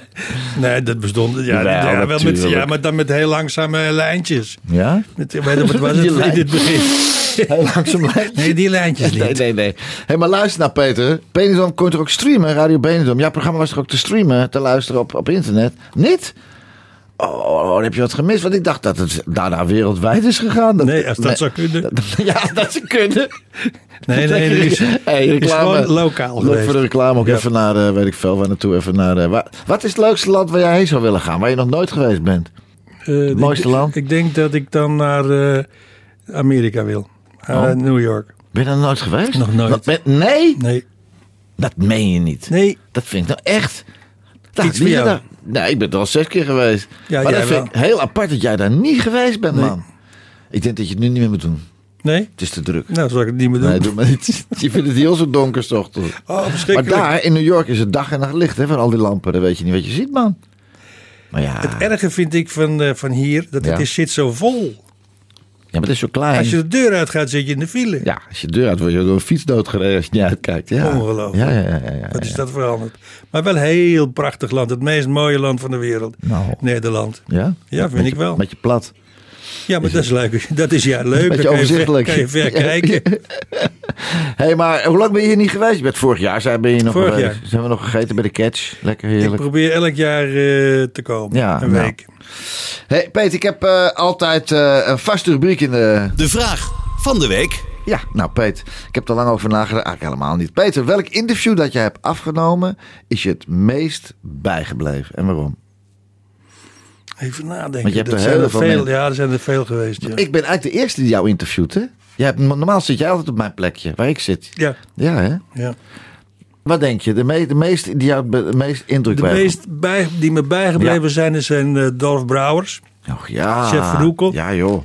Speaker 6: Nee, dat bestond. Ja,
Speaker 2: Jawel,
Speaker 6: ja, wel met,
Speaker 2: natuurlijk.
Speaker 6: ja maar dan met heel langzame lijntjes.
Speaker 2: Ja?
Speaker 6: Met, weet je, wat was
Speaker 2: Die
Speaker 6: het in
Speaker 2: lijn.
Speaker 6: het begin?
Speaker 2: Heel langzaam lijntje.
Speaker 6: Nee, die lijntjes niet.
Speaker 2: Nee, nee, nee. Hey, maar luister nou, Peter. Benidorm kon je toch ook streamen? Radio Benidorm. Jouw programma was toch ook te streamen, te luisteren op, op internet? Niet? Oh, oh, dan heb je wat gemist. Want ik dacht dat het daarna wereldwijd is gegaan.
Speaker 6: Nee, als dat zou kunnen.
Speaker 2: ja, dat ze kunnen.
Speaker 6: Nee, nee,
Speaker 2: Dat
Speaker 6: nee.
Speaker 2: je-
Speaker 6: Is,
Speaker 2: Hey,
Speaker 6: is
Speaker 2: reclame.
Speaker 6: gewoon lokaal
Speaker 2: Leuk
Speaker 6: geweest.
Speaker 2: voor de reclame ook
Speaker 6: Ja.
Speaker 2: even naar, eh, weet ik veel, waar naartoe. Even naar, eh, waar- wat is het leukste land waar jij heen zou willen gaan? Waar je nog nooit geweest bent?
Speaker 6: Eh, ik-
Speaker 2: mooiste land?
Speaker 6: Ik denk dat ik dan naar eh, Amerika wil. Eh,
Speaker 2: Oh.
Speaker 6: New York.
Speaker 2: Ben je er nog nooit geweest?
Speaker 6: Nog nooit.
Speaker 2: Wat ben- nee?
Speaker 6: Nee.
Speaker 2: Dat meen je niet.
Speaker 6: Nee.
Speaker 2: Dat vind ik nou echt. Dat
Speaker 6: Iets voor jou.
Speaker 2: Nee, ik ben er al zes keer geweest.
Speaker 6: Ja,
Speaker 2: maar
Speaker 6: jij
Speaker 2: dat vind
Speaker 6: wel.
Speaker 2: ik heel apart dat jij daar niet geweest bent,
Speaker 6: Nee.
Speaker 2: man. Ik denk dat je het nu niet meer moet doen.
Speaker 6: Nee?
Speaker 2: Het is te druk.
Speaker 6: Nou, zal ik het niet meer doen.
Speaker 2: Nee, doe maar niet. Je vindt het heel zo donker 's ochtends.
Speaker 6: Oh,
Speaker 2: maar
Speaker 6: verschrikkelijk.
Speaker 2: daar in New York is het dag en nacht licht hè, van al die lampen. Dan weet je niet wat je ziet, man. Maar ja,
Speaker 6: Het erge vind ik van, eh, van hier, dat
Speaker 2: Ja.
Speaker 6: het is, zit zo vol.
Speaker 2: ja maar het is zo klein.
Speaker 6: Als je de deur uit gaat, zit je in de file.
Speaker 2: Ja, als je deur uit wordt, je door een fiets doodgereden als je niet uitkijkt. Ja. Ja,
Speaker 6: Ongelooflijk.
Speaker 2: ja, ja. ja, ja,
Speaker 6: Wat is
Speaker 2: ja.
Speaker 6: dat veranderd? Maar wel een heel prachtig land. Het meest mooie land van de wereld.
Speaker 2: Nou.
Speaker 6: Nederland.
Speaker 2: Ja?
Speaker 6: Ja, vind
Speaker 2: Met
Speaker 6: ik
Speaker 2: je-
Speaker 6: wel.
Speaker 2: Met je plat.
Speaker 6: Ja, maar dat is leuk. Dat is ja leuk.
Speaker 2: Beetje
Speaker 6: Dan kan je ver-
Speaker 2: overzichtelijk.
Speaker 6: Kan je ver kijken.
Speaker 2: Hé, hey, maar hoe lang ben je hier niet geweest? Je bent vorig jaar zijn, ben je nog
Speaker 6: Vorig
Speaker 2: geweest.
Speaker 6: jaar.
Speaker 2: Zijn we nog gegeten bij de catch? Lekker
Speaker 6: Ik
Speaker 2: heerlijk.
Speaker 6: probeer elk jaar eh, te komen.
Speaker 2: Ja,
Speaker 6: een
Speaker 2: nou.
Speaker 6: week.
Speaker 2: Hey, Peter, ik heb eh, altijd eh, een vaste rubriek in de...
Speaker 1: De vraag van de week.
Speaker 2: Ja, nou Peter, ik heb er lang over nagedacht. Eigenlijk helemaal niet. Peter, welk interview dat jij hebt afgenomen is je het meest bijgebleven? En waarom?
Speaker 6: Even nadenken.
Speaker 2: nou. Want je hebt
Speaker 6: Dat
Speaker 2: er
Speaker 6: zijn
Speaker 2: heel
Speaker 6: er
Speaker 2: veel
Speaker 6: veel.
Speaker 2: mensen.
Speaker 6: Ja, er zijn er veel geweest. Ja.
Speaker 2: Ik ben eigenlijk de eerste die jou interviewt, hè? Jij hebt, normaal zit jij altijd op mijn plekje, waar ik zit.
Speaker 6: ja,
Speaker 2: Ja, hè?
Speaker 6: ja.
Speaker 2: Wat denk je? De, me- de meest die jou be- de meest indruk
Speaker 6: De
Speaker 2: bij
Speaker 6: meest bij, die me bijgebleven
Speaker 2: Ja.
Speaker 6: zijn, is zijn eh, Dolf Brouwers.
Speaker 2: Och, ja.
Speaker 6: Chef Van Hoekel.
Speaker 2: Ja, joh.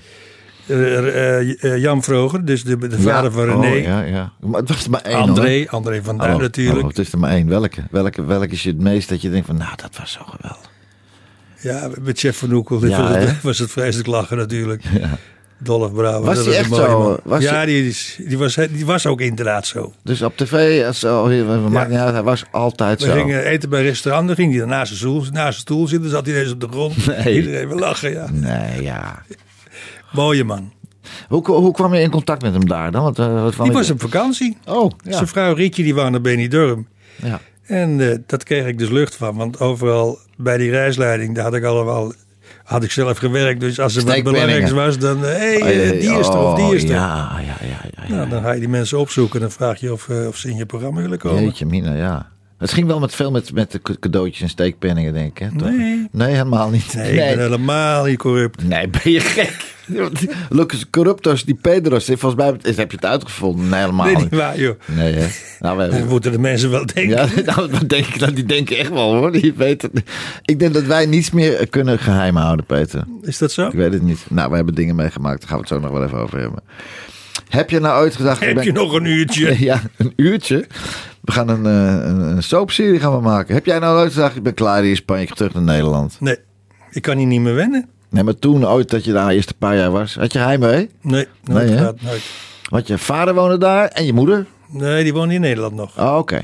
Speaker 6: eh, eh, eh, Jan Vroger, dus de, de
Speaker 2: Ja.
Speaker 6: vader van René.
Speaker 2: Oh, ja, ja. Maar het was er maar één. hoor. Oh,
Speaker 6: André, André van Duin
Speaker 2: Hallo,
Speaker 6: natuurlijk.
Speaker 2: hallo, het is er maar één. Welke? Welke, welke is je het meest dat je denkt van, nou, dat was zo geweldig.
Speaker 6: Ja, met Chef van Oekel dit
Speaker 2: Ja,
Speaker 6: was, het,
Speaker 2: hè?
Speaker 6: was het vreselijk lachen natuurlijk. Dolf Brouwer.
Speaker 2: Was
Speaker 6: dat
Speaker 2: die
Speaker 6: een
Speaker 2: echt
Speaker 6: mooie
Speaker 2: zo?
Speaker 6: man.
Speaker 2: Was
Speaker 6: ja, die, is- die, was, die was ook inderdaad zo.
Speaker 2: Dus op tv, als, oh, hier, maakt niet uit, hij was altijd
Speaker 6: We
Speaker 2: zo.
Speaker 6: gingen eten bij een restaurant, dan ging hij naast zijn stoel, naast zijn stoel zitten, zat hij ineens op de grond.
Speaker 2: Nee.
Speaker 6: Iedereen wil lachen, ja.
Speaker 2: Nee, ja.
Speaker 6: Mooie man.
Speaker 2: Hoe, hoe kwam je in contact met hem daar dan? Wat, eh, wat kwam
Speaker 6: Die
Speaker 2: je-
Speaker 6: was op vakantie.
Speaker 2: Oh, ja.
Speaker 6: Zijn vrouw Rietje, die wou naar Benidorm.
Speaker 2: ja.
Speaker 6: En eh, dat kreeg ik dus lucht van. Want overal bij die reisleiding, daar had ik allemaal... Had ik zelf gewerkt. Dus als er wat
Speaker 2: Steekpenningen.
Speaker 6: belangrijks was, dan... Hé, hey, eh, die is er of die is er.
Speaker 2: Oh, Ja, ja, ja. ja, ja.
Speaker 6: Nou, dan ga je die mensen opzoeken en dan vraag je of, eh, of ze in je programma willen komen.
Speaker 2: Jeetje, Mina, ja. Het ging wel met veel met, met de cadeautjes en steekpenningen, denk ik. Hè? toch?
Speaker 6: Nee.
Speaker 2: Nee, helemaal niet.
Speaker 6: Nee, ik ben helemaal niet corrupt.
Speaker 2: Nee, ben je gek? Lucas Corruptos, die Pedro's, die volgens mij heb- heb je het uitgevonden. Nee, helemaal
Speaker 6: Nee, niet
Speaker 2: niet.
Speaker 6: waar, joh.
Speaker 2: Nee, hè? Nou, we
Speaker 6: Dat moeten de mensen wel denken.
Speaker 2: Ja, nou, dat denk ik, dat die denken echt wel hoor. Die weten. Ik denk dat wij niets meer eh, kunnen geheim houden, Peter.
Speaker 6: Is dat zo?
Speaker 2: Ik weet het niet. Nou, we hebben dingen meegemaakt, daar gaan we het zo nog wel even over hebben. Heb je nou ooit gedacht... ik
Speaker 6: Heb
Speaker 2: ben-
Speaker 6: je nog een uurtje?
Speaker 2: Ja, een uurtje. We gaan een, eh, een, een soapserie gaan we maken. Heb jij nou ooit gedacht, ik ben klaar hier in Spanje, ik ga terug naar Nederland.
Speaker 6: Nee, ik kan hier niet meer wennen.
Speaker 2: Nee, maar toen ooit dat je daar eerst een paar jaar was, had je heimwee?
Speaker 6: Nee, nooit
Speaker 2: Nee, hè?
Speaker 6: gehad, nooit.
Speaker 2: Want je vader woonde daar en je moeder?
Speaker 6: Nee, die woont in Nederland nog.
Speaker 2: Oh, oké.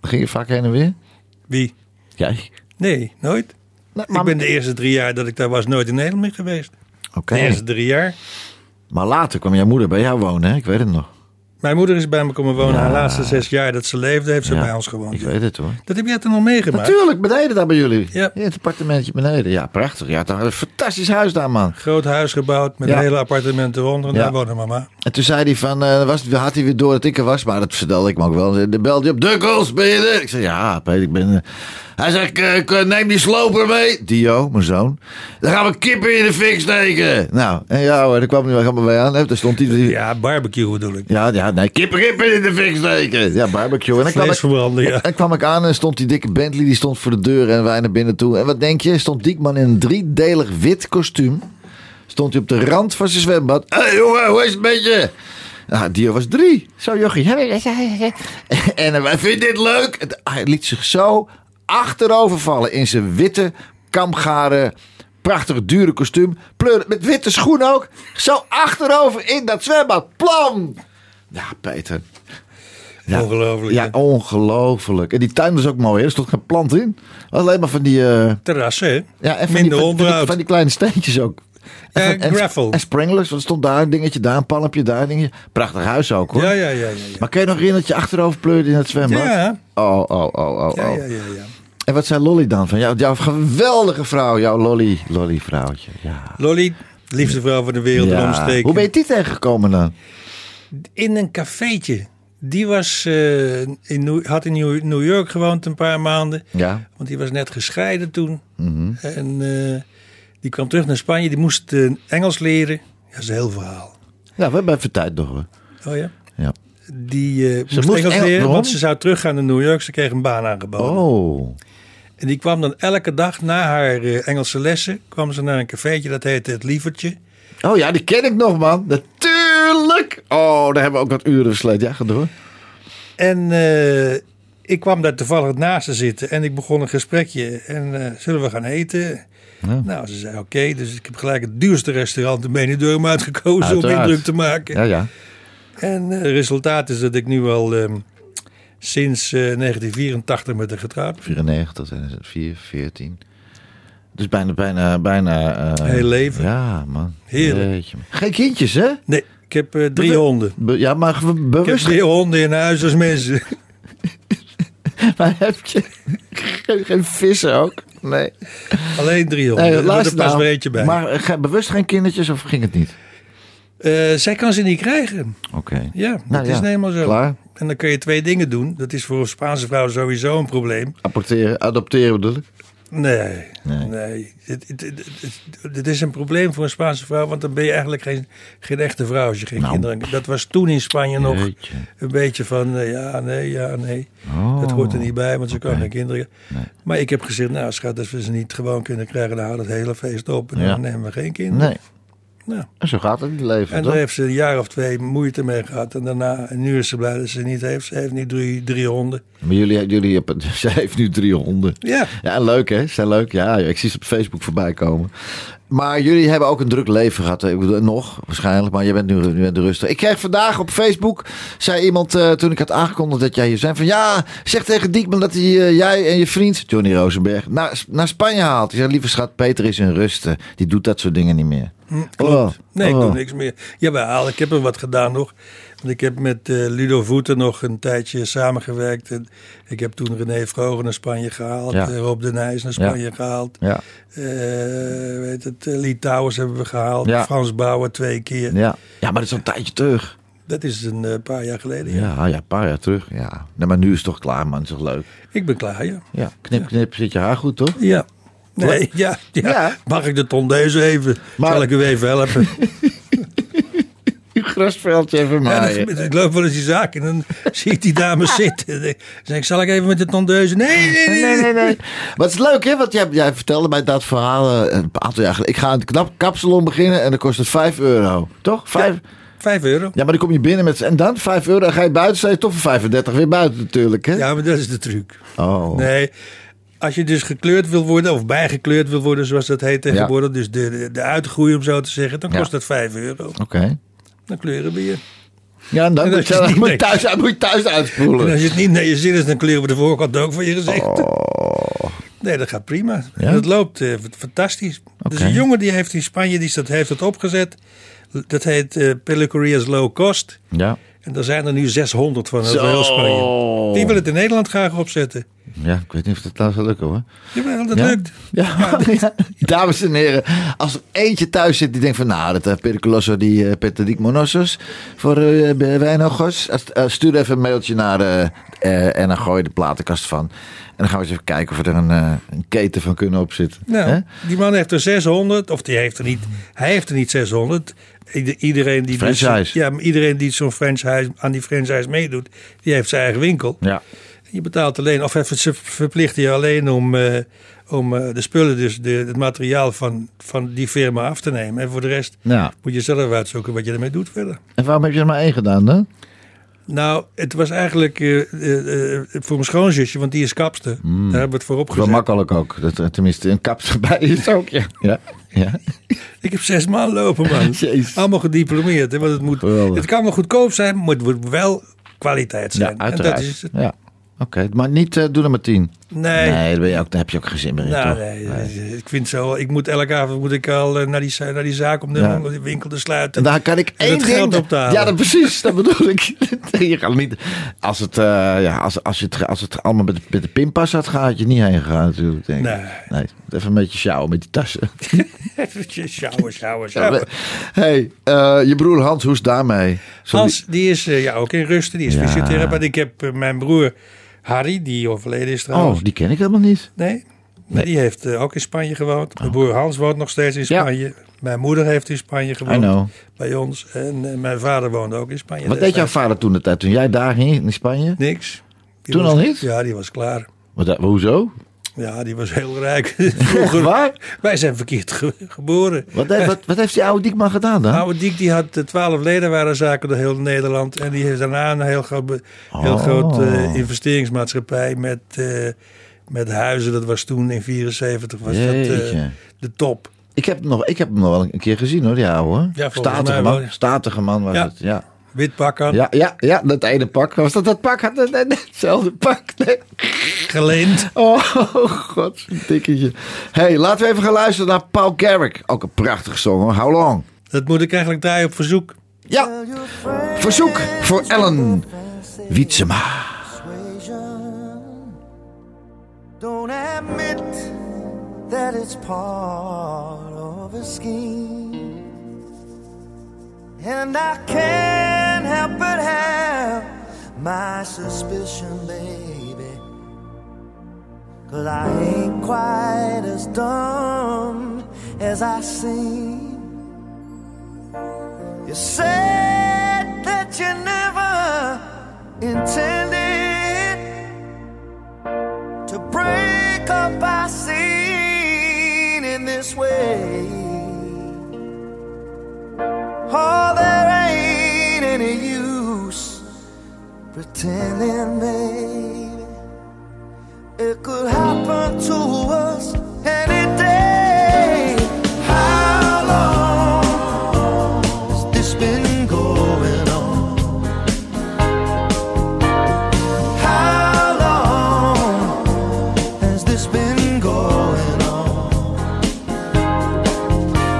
Speaker 2: Ging je vaak heen en weer?
Speaker 6: Wie?
Speaker 2: Jij?
Speaker 6: Nee, nooit.
Speaker 2: Nee,
Speaker 6: Ik ben de eerste drie jaar dat ik daar was nooit in Nederland meer geweest.
Speaker 2: Oké.
Speaker 6: De eerste drie jaar.
Speaker 2: Maar later kwam jouw moeder bij jou wonen, hè? Ik weet het nog.
Speaker 6: Mijn moeder is bij me komen wonen. Haar laatste zes jaar dat ze leefde, heeft ze
Speaker 2: Ja,
Speaker 6: bij ons gewoond.
Speaker 2: Ik weet het hoor.
Speaker 6: Dat heb jij toen al meegemaakt?
Speaker 2: Natuurlijk, beneden daar bij jullie.
Speaker 6: Ja.
Speaker 2: In het appartementje beneden. Ja, prachtig. Ja, toch een fantastisch huis daar, man.
Speaker 6: Groot huis gebouwd met
Speaker 2: Ja.
Speaker 6: een hele appartement eronder. En
Speaker 2: Ja.
Speaker 6: daar woonde mama.
Speaker 2: En toen zei hij van, eh, was, had hij weer door dat ik er was, maar dat vertelde ik me ook wel. Dan belde hij op, Dukkels, ben je er? Ik zei, ja, Peter, ik ben er." Hij zegt, "Ik, eh, ik, eh, neem die sloper mee. Dio, mijn zoon. Dan gaan we kippen in de fik steken. Nou, en ja hoor, daar kwam hij wel helemaal bij aan. hè. Daar stond hij... Ja.
Speaker 6: Ja, barbecue bedoel ik.
Speaker 2: Ja, nee, kippen, kippen in de fik steken. Ja, barbecue. En dan kwam ik,
Speaker 6: Vleesverbranden, ja.
Speaker 2: En kwam ik aan en stond die dikke Bentley die stond voor de deur en wij naar binnen toe. En wat denk je? Stond Diekman in een driedelig wit kostuum. Stond hij op de rand van zijn zwembad. Hé hey, jongen, hoe is het met je? Nou, Dio was drie. Zo jochie. En hij vindt dit leuk. Het- Hij liet zich zo achterover vallen in zijn witte, kamgaren, prachtig dure kostuum. Pleur, met witte schoenen ook. Zo achterover in dat zwembad. Plam! Ja, Peter. Ja.
Speaker 6: Ongelooflijk.
Speaker 2: Ja,
Speaker 6: hè?
Speaker 2: ongelooflijk. En die tuin was ook mooi, hè? Er stond geen plant in. Alleen maar van die... eh,
Speaker 6: Terrassen, hè?
Speaker 2: ja, en van die, van- van,
Speaker 6: Minder
Speaker 2: die,
Speaker 6: onderhoud.
Speaker 2: van die kleine steentjes ook.
Speaker 6: Ja,
Speaker 2: van- en,
Speaker 6: gravel.
Speaker 2: En springlers, want er stond daar een dingetje, daar een palmpje, daar een dingetje. Prachtig huis ook, hoor.
Speaker 6: Ja, ja, ja. ja, ja.
Speaker 2: Maar kun je nog herinneren dat je achterover pleurde in het zwembad?
Speaker 6: Ja.
Speaker 2: Oh, oh, oh, oh, oh.
Speaker 6: Ja, ja, ja, ja.
Speaker 2: En wat zei Lolly dan? Van jou, jouw geweldige vrouw, jouw Lolly, Lolly vrouwtje. Ja.
Speaker 6: Lolly, liefste vrouw van de wereld en
Speaker 2: Ja.
Speaker 6: omstreken.
Speaker 2: Hoe ben je die tegengekomen dan?
Speaker 6: In een cafeetje. Die was, eh, in New- had in New New York gewoond een paar maanden.
Speaker 2: Ja. Mhm.
Speaker 6: Want die was net gescheiden toen. En eh, die kwam terug naar Spanje. Die moest eh, Engels leren. Dat is een heel verhaal.
Speaker 2: Ja, we hebben even tijd nog, hoor.
Speaker 6: Oh ja?
Speaker 2: Ja.
Speaker 6: Die eh, moest,
Speaker 2: moest
Speaker 6: Engels
Speaker 2: Engels-
Speaker 6: leren,
Speaker 2: waarom?
Speaker 6: want ze zou teruggaan naar New York. Ze kreeg een baan aangeboden.
Speaker 2: Oh.
Speaker 6: En die kwam dan elke dag na haar eh, Engelse lessen... kwam ze naar een cafeetje, dat heette Het Lievertje.
Speaker 2: Oh ja, die ken ik nog, man. Natuurlijk Heerlijk! Oh, daar hebben we ook wat uren versleten. Ja, ga door.
Speaker 6: En eh, ik kwam daar toevallig naast te zitten en ik begon een gesprekje. En eh, zullen we gaan eten? Nou, ze zei oké. dus ik heb gelijk het duurste restaurant in Benidorm uitgekozen om
Speaker 2: Uiteraard.
Speaker 6: indruk te maken.
Speaker 2: Ja, ja.
Speaker 6: En eh, het resultaat is dat ik nu al ehm, sinds eh, 1984 met haar getrouwd ben.
Speaker 2: 94, 4, 14. Dus bijna, bijna, bijna... eh,
Speaker 6: Heel leven.
Speaker 2: Ja, man.
Speaker 6: Heerlijk.
Speaker 2: Jeetje, man. Geen kindjes, hè?
Speaker 6: Nee, ik heb eh, drie honden.
Speaker 2: Be- ja, maar ge-
Speaker 6: Ik heb
Speaker 2: bewust...
Speaker 6: drie honden in huis als mensen.
Speaker 2: maar heb je geen, geen vissen ook? Nee.
Speaker 6: Alleen drie honden.
Speaker 2: nee
Speaker 6: er wordt er
Speaker 2: luister
Speaker 6: pas
Speaker 2: nou.
Speaker 6: weer eentje bij.
Speaker 2: Maar eh, ge- bewust geen kindertjes of ging het niet?
Speaker 6: Eh, zij kan ze niet krijgen.
Speaker 2: Oké.
Speaker 6: Ja, dat
Speaker 2: Nou
Speaker 6: is
Speaker 2: ja,
Speaker 6: nou eenmaal zo.
Speaker 2: klaar.
Speaker 6: En dan kun je twee dingen doen. Dat is voor een Spaanse vrouw sowieso een probleem.
Speaker 2: Apporteren, adopteren bedoel ik?
Speaker 6: Nee, nee.
Speaker 2: Nee.
Speaker 6: Dit, dit, dit- dit- dit is een probleem voor een Spaanse vrouw, want dan ben je eigenlijk geen, geen echte vrouw als je geen
Speaker 2: Nou.
Speaker 6: kinderen hebt. Dat was toen in Spanje nog
Speaker 2: Jeetje.
Speaker 6: een beetje van eh, ja, nee, ja, nee.
Speaker 2: Oh.
Speaker 6: Dat hoort er niet bij, want ze kan geen kinderen.
Speaker 2: Nee.
Speaker 6: Maar ik heb gezegd, nou schat, als we ze niet gewoon kunnen krijgen, dan houden we het hele feest op en
Speaker 2: Ja.
Speaker 6: dan nemen we geen kinderen.
Speaker 2: Nee.
Speaker 6: Nou.
Speaker 2: En zo gaat het in het leven,
Speaker 6: En
Speaker 2: toch?
Speaker 6: daar heeft ze een jaar of twee moeite mee gehad. En daarna, en nu is ze blij dat ze niet heeft. Ze heeft nu drie, drie honden.
Speaker 2: Maar jullie, jullie hebben... Zij heeft nu drie honden.
Speaker 6: Ja,
Speaker 2: Ja, leuk hè? Zijn leuk. Ja, ik zie ze op Facebook voorbij komen. Maar jullie hebben ook een druk leven gehad. hè? Ik bedoel, nog waarschijnlijk, maar je bent nu, nu bent rustig. Ik kreeg vandaag op Facebook, zei iemand eh, toen ik had aangekondigd dat jij hier zijn van ja, zeg tegen Diekman dat hij, eh, jij en je vriend, Johnny Rosenberg, naar, naar Spanje haalt. Ik zei, lieve schat, Peter is in rusten. Die doet dat soort dingen niet meer.
Speaker 6: Hm, klopt.
Speaker 2: Oh,
Speaker 6: Nee, ik
Speaker 2: oh.
Speaker 6: doe niks meer. Jawel, ik heb er wat gedaan nog. Want ik heb met eh, Ludo Voeten nog een tijdje samengewerkt. En ik heb toen René Vrogen naar Spanje gehaald.
Speaker 2: Ja.
Speaker 6: eh, Rob de Nijs naar
Speaker 2: Ja.
Speaker 6: Spanje gehaald.
Speaker 2: Ja,
Speaker 6: Eh, weet het, eh, Lee Towers hebben we gehaald.
Speaker 2: Ja.
Speaker 6: Frans Bauer twee keer.
Speaker 2: ja. ja, maar dat is al een tijdje terug.
Speaker 6: Dat is een eh, paar jaar geleden. Ja.
Speaker 2: Ja, ja, een paar jaar terug. Ja. Nee, maar nu is het toch klaar, man. Het is toch leuk.
Speaker 6: Ik ben klaar, ja.
Speaker 2: Ja, knip, knip, zit je haar goed, toch?
Speaker 6: Ja. Nee, ja, ja.
Speaker 2: Ja.
Speaker 6: Mag ik de tondeus even?
Speaker 2: Maar-
Speaker 6: Zal ik u even helpen?
Speaker 2: Uw grasveldje even
Speaker 6: Ja,
Speaker 2: maaien.
Speaker 6: dat gebeurt. ik loop wel eens die zaak en dan zie ik die dames zitten. Dan zeg ik, zal ik even met de tondeuze? Nee, nee, nee.
Speaker 2: Nee, nee, nee. Maar het is leuk, hè? Want jij, jij vertelde mij dat verhaal eh, een aantal jaar geleden. Ik ga een knap kapsalon beginnen en dan kost het 5 euro. Toch? 5? Ja.
Speaker 6: Vijf euro.
Speaker 2: maar dan kom je binnen met... En dan 5 euro en ga je buiten, sta je toch voor 35 weer buiten natuurlijk, hè?
Speaker 6: Ja, maar dat is de truc.
Speaker 2: Oh.
Speaker 6: Nee, als je dus gekleurd wil worden of bijgekleurd wil worden, zoals dat heet tegenwoordig. Dus de, de, de uitgroei om zo te zeggen, dan
Speaker 2: Ja.
Speaker 6: kost dat vijf euro.
Speaker 2: Oké.
Speaker 6: Dan kleuren we je.
Speaker 2: Ja, en dan
Speaker 6: En
Speaker 2: moet
Speaker 6: als je
Speaker 2: je,
Speaker 6: het niet
Speaker 2: moet je
Speaker 6: weet.
Speaker 2: thuis, uit- moet je thuis
Speaker 6: En
Speaker 2: uitspoelen.
Speaker 6: als je het niet naar je zin is, dan kleuren we de voorkant ook van je gezicht. Nee, dat gaat prima.
Speaker 2: Oh. Ja?
Speaker 6: En dat loopt eh, f- fantastisch. Dus
Speaker 2: Oké.
Speaker 6: een jongen die heeft in Spanje, die is dat, heeft dat opgezet. Dat heet eh Pelucarias Low Cost.
Speaker 2: Ja.
Speaker 6: En daar zijn er nu 600 van over
Speaker 2: Zo.
Speaker 6: heel Spanje. Die wil het in Nederland graag opzetten.
Speaker 2: Ja, ik weet niet of dat nou zal lukken, hoor.
Speaker 6: Jawel, dat
Speaker 2: ja?
Speaker 6: lukt.
Speaker 2: Ja. Ja. Dames en heren, als er eentje thuis zit die denkt van... nou, dat uh, Periculoso, die uh, Petridiek Monosos voor eh Wijnogos. eh, stuur even een mailtje naar eh, eh, en dan gooi je de platenkast van. En dan gaan we eens even kijken of we er een, eh, een keten van kunnen opzitten.
Speaker 6: Nou,
Speaker 2: Hè?
Speaker 6: die man heeft er 600, of die heeft er niet, hij heeft er niet 600. Ieder- Iedereen die dus-
Speaker 2: Franchise.
Speaker 6: ja, maar iedereen die zo'n franchise, aan die franchise meedoet, die heeft zijn eigen winkel.
Speaker 2: Ja.
Speaker 6: Je betaalt alleen, of even- ze verplichten je alleen om, eh, om eh, de spullen, dus de, het materiaal van, van die firma af te nemen. En voor de rest
Speaker 2: Nou,
Speaker 6: moet je zelf uitzoeken wat je ermee doet verder.
Speaker 2: en waarom heb je er maar één gedaan dan?
Speaker 6: Nou, het was eigenlijk eh, eh, eh, voor mijn schoonzusje, want die is kapster. Daar hebben we het voor
Speaker 2: Wel
Speaker 6: opgezet.
Speaker 2: makkelijk ook. Dat, er tenminste, Mm. een kap erbij is ook, ja. Ja, ja.
Speaker 6: Ik heb zes man lopen, man.
Speaker 2: Jezus.
Speaker 6: Allemaal gediplomeerd. Hè, want het, moet,
Speaker 2: Geweldig.
Speaker 6: het kan wel goedkoop zijn, maar het moet wel kwaliteit zijn.
Speaker 2: ja uiteraard.
Speaker 6: En dat is het.
Speaker 2: Ja. Oké, maar niet eh, doen er maar tien.
Speaker 6: Nee.
Speaker 2: Nee, daar, ben je ook, daar heb je ook geen zin meer in,
Speaker 6: Nou,
Speaker 2: toch?
Speaker 6: nee, ik vind zo. Ik moet elke avond moet ik al eh, naar die, za- naar die zaak om de,
Speaker 2: Ja.
Speaker 6: om de winkel te
Speaker 2: En
Speaker 6: sluiten.
Speaker 2: daar kan ik
Speaker 6: En
Speaker 2: één
Speaker 6: het
Speaker 2: ding...
Speaker 6: geld op te halen.
Speaker 2: Ja, dat, precies. Dat bedoel ik. je gaat niet... Als het, eh, ja, als, als, je het, als het allemaal met, de- met de pinpas had gegaan, had je niet heen gegaan natuurlijk. Denk ik.
Speaker 6: Nee.
Speaker 2: nee. Even een beetje sjouwen met die tassen.
Speaker 6: Sjouwen, sjouwen,
Speaker 2: Hé,
Speaker 6: sjouwen.
Speaker 2: hey, eh, je broer Hans, hoe is daarmee? Zal die-
Speaker 6: Hans, die is eh, ja, ook in rusten. Die is
Speaker 2: Ja.
Speaker 6: fysiotherapeut. Ik heb eh, mijn broer Harry, die overleden is trouwens.
Speaker 2: Oh, die ken ik helemaal niet.
Speaker 6: Nee. Maar Die heeft eh, ook in Spanje gewoond. Mijn broer Hans woont nog steeds in
Speaker 2: Oh. Ja.
Speaker 6: Spanje. Mijn moeder heeft in Spanje
Speaker 2: I
Speaker 6: gewoond.
Speaker 2: know.
Speaker 6: Bij ons. En eh, mijn vader woonde ook in Spanje.
Speaker 2: Wat deed jouw
Speaker 6: destijds.
Speaker 2: vader toen de tijd? Toen jij daar ging in Spanje?
Speaker 6: Niks. Die
Speaker 2: Toen
Speaker 6: was-
Speaker 2: al niet?
Speaker 6: Ja, die was klaar.
Speaker 2: Wat, hoezo?
Speaker 6: Ja, die was heel rijk. Vroeger, Wij zijn verkeerd ge- geboren.
Speaker 2: Wat, heeft- wat, wat heeft die oude Diekman gedaan dan?
Speaker 6: Oude Diek die had eh, twaalf ledenwarenzaken door heel Nederland. En die heeft daarna een heel groot, be- heel
Speaker 2: Oh.
Speaker 6: groot eh, investeringsmaatschappij met, eh, met huizen. Dat was toen in 74 was dat, eh,
Speaker 2: Jeetje.
Speaker 6: de top.
Speaker 2: Ik heb, hem nog, ik heb hem nog wel een keer gezien hoor, die oude.
Speaker 6: Ja, volgens
Speaker 2: statige,
Speaker 6: mij
Speaker 2: man,
Speaker 6: wel.
Speaker 2: statige man was
Speaker 6: Ja.
Speaker 2: het, ja.
Speaker 6: Wit pak aan,
Speaker 2: Ja, ja, ja, dat ene pak. Was dat dat pak? Had dat net hetzelfde pak? Nee.
Speaker 6: geleend.
Speaker 2: Oh, god, dikketje. hey, laten we even gaan luisteren naar Paul Garrick. Ook een prachtige song hoor. How long?
Speaker 6: Dat moet ik eigenlijk draaien op verzoek.
Speaker 2: Ja, verzoek voor Ellen Wietsema.
Speaker 12: Don't admit that it's part of a scheme. And I can't help but have my suspicion, baby. Cause I ain't quite as dumb as I seem. You said that you never intended to break up our scene in this way. Oh, there ain't any use pretending, baby. It could happen to us any day. How long has this been going on? How long? has this been going on?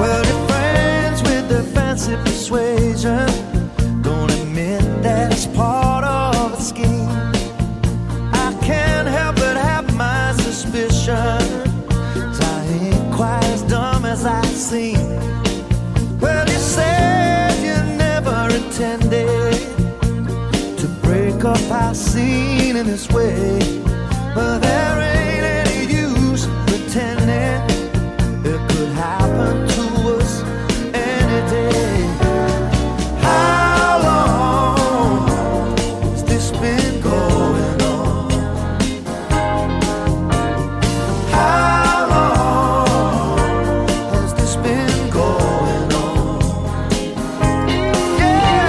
Speaker 12: Well, your friends with their fancy persuasion don't admit that it's part of a scheme. I can't help but have my suspicion. 'cause I ain't quite as dumb as I seem. Well, you said you never intended to break up our scene in this way. But there ain't any use pretending it could happen to us any day. How long has this been going on? How long has this been going on? Yeah.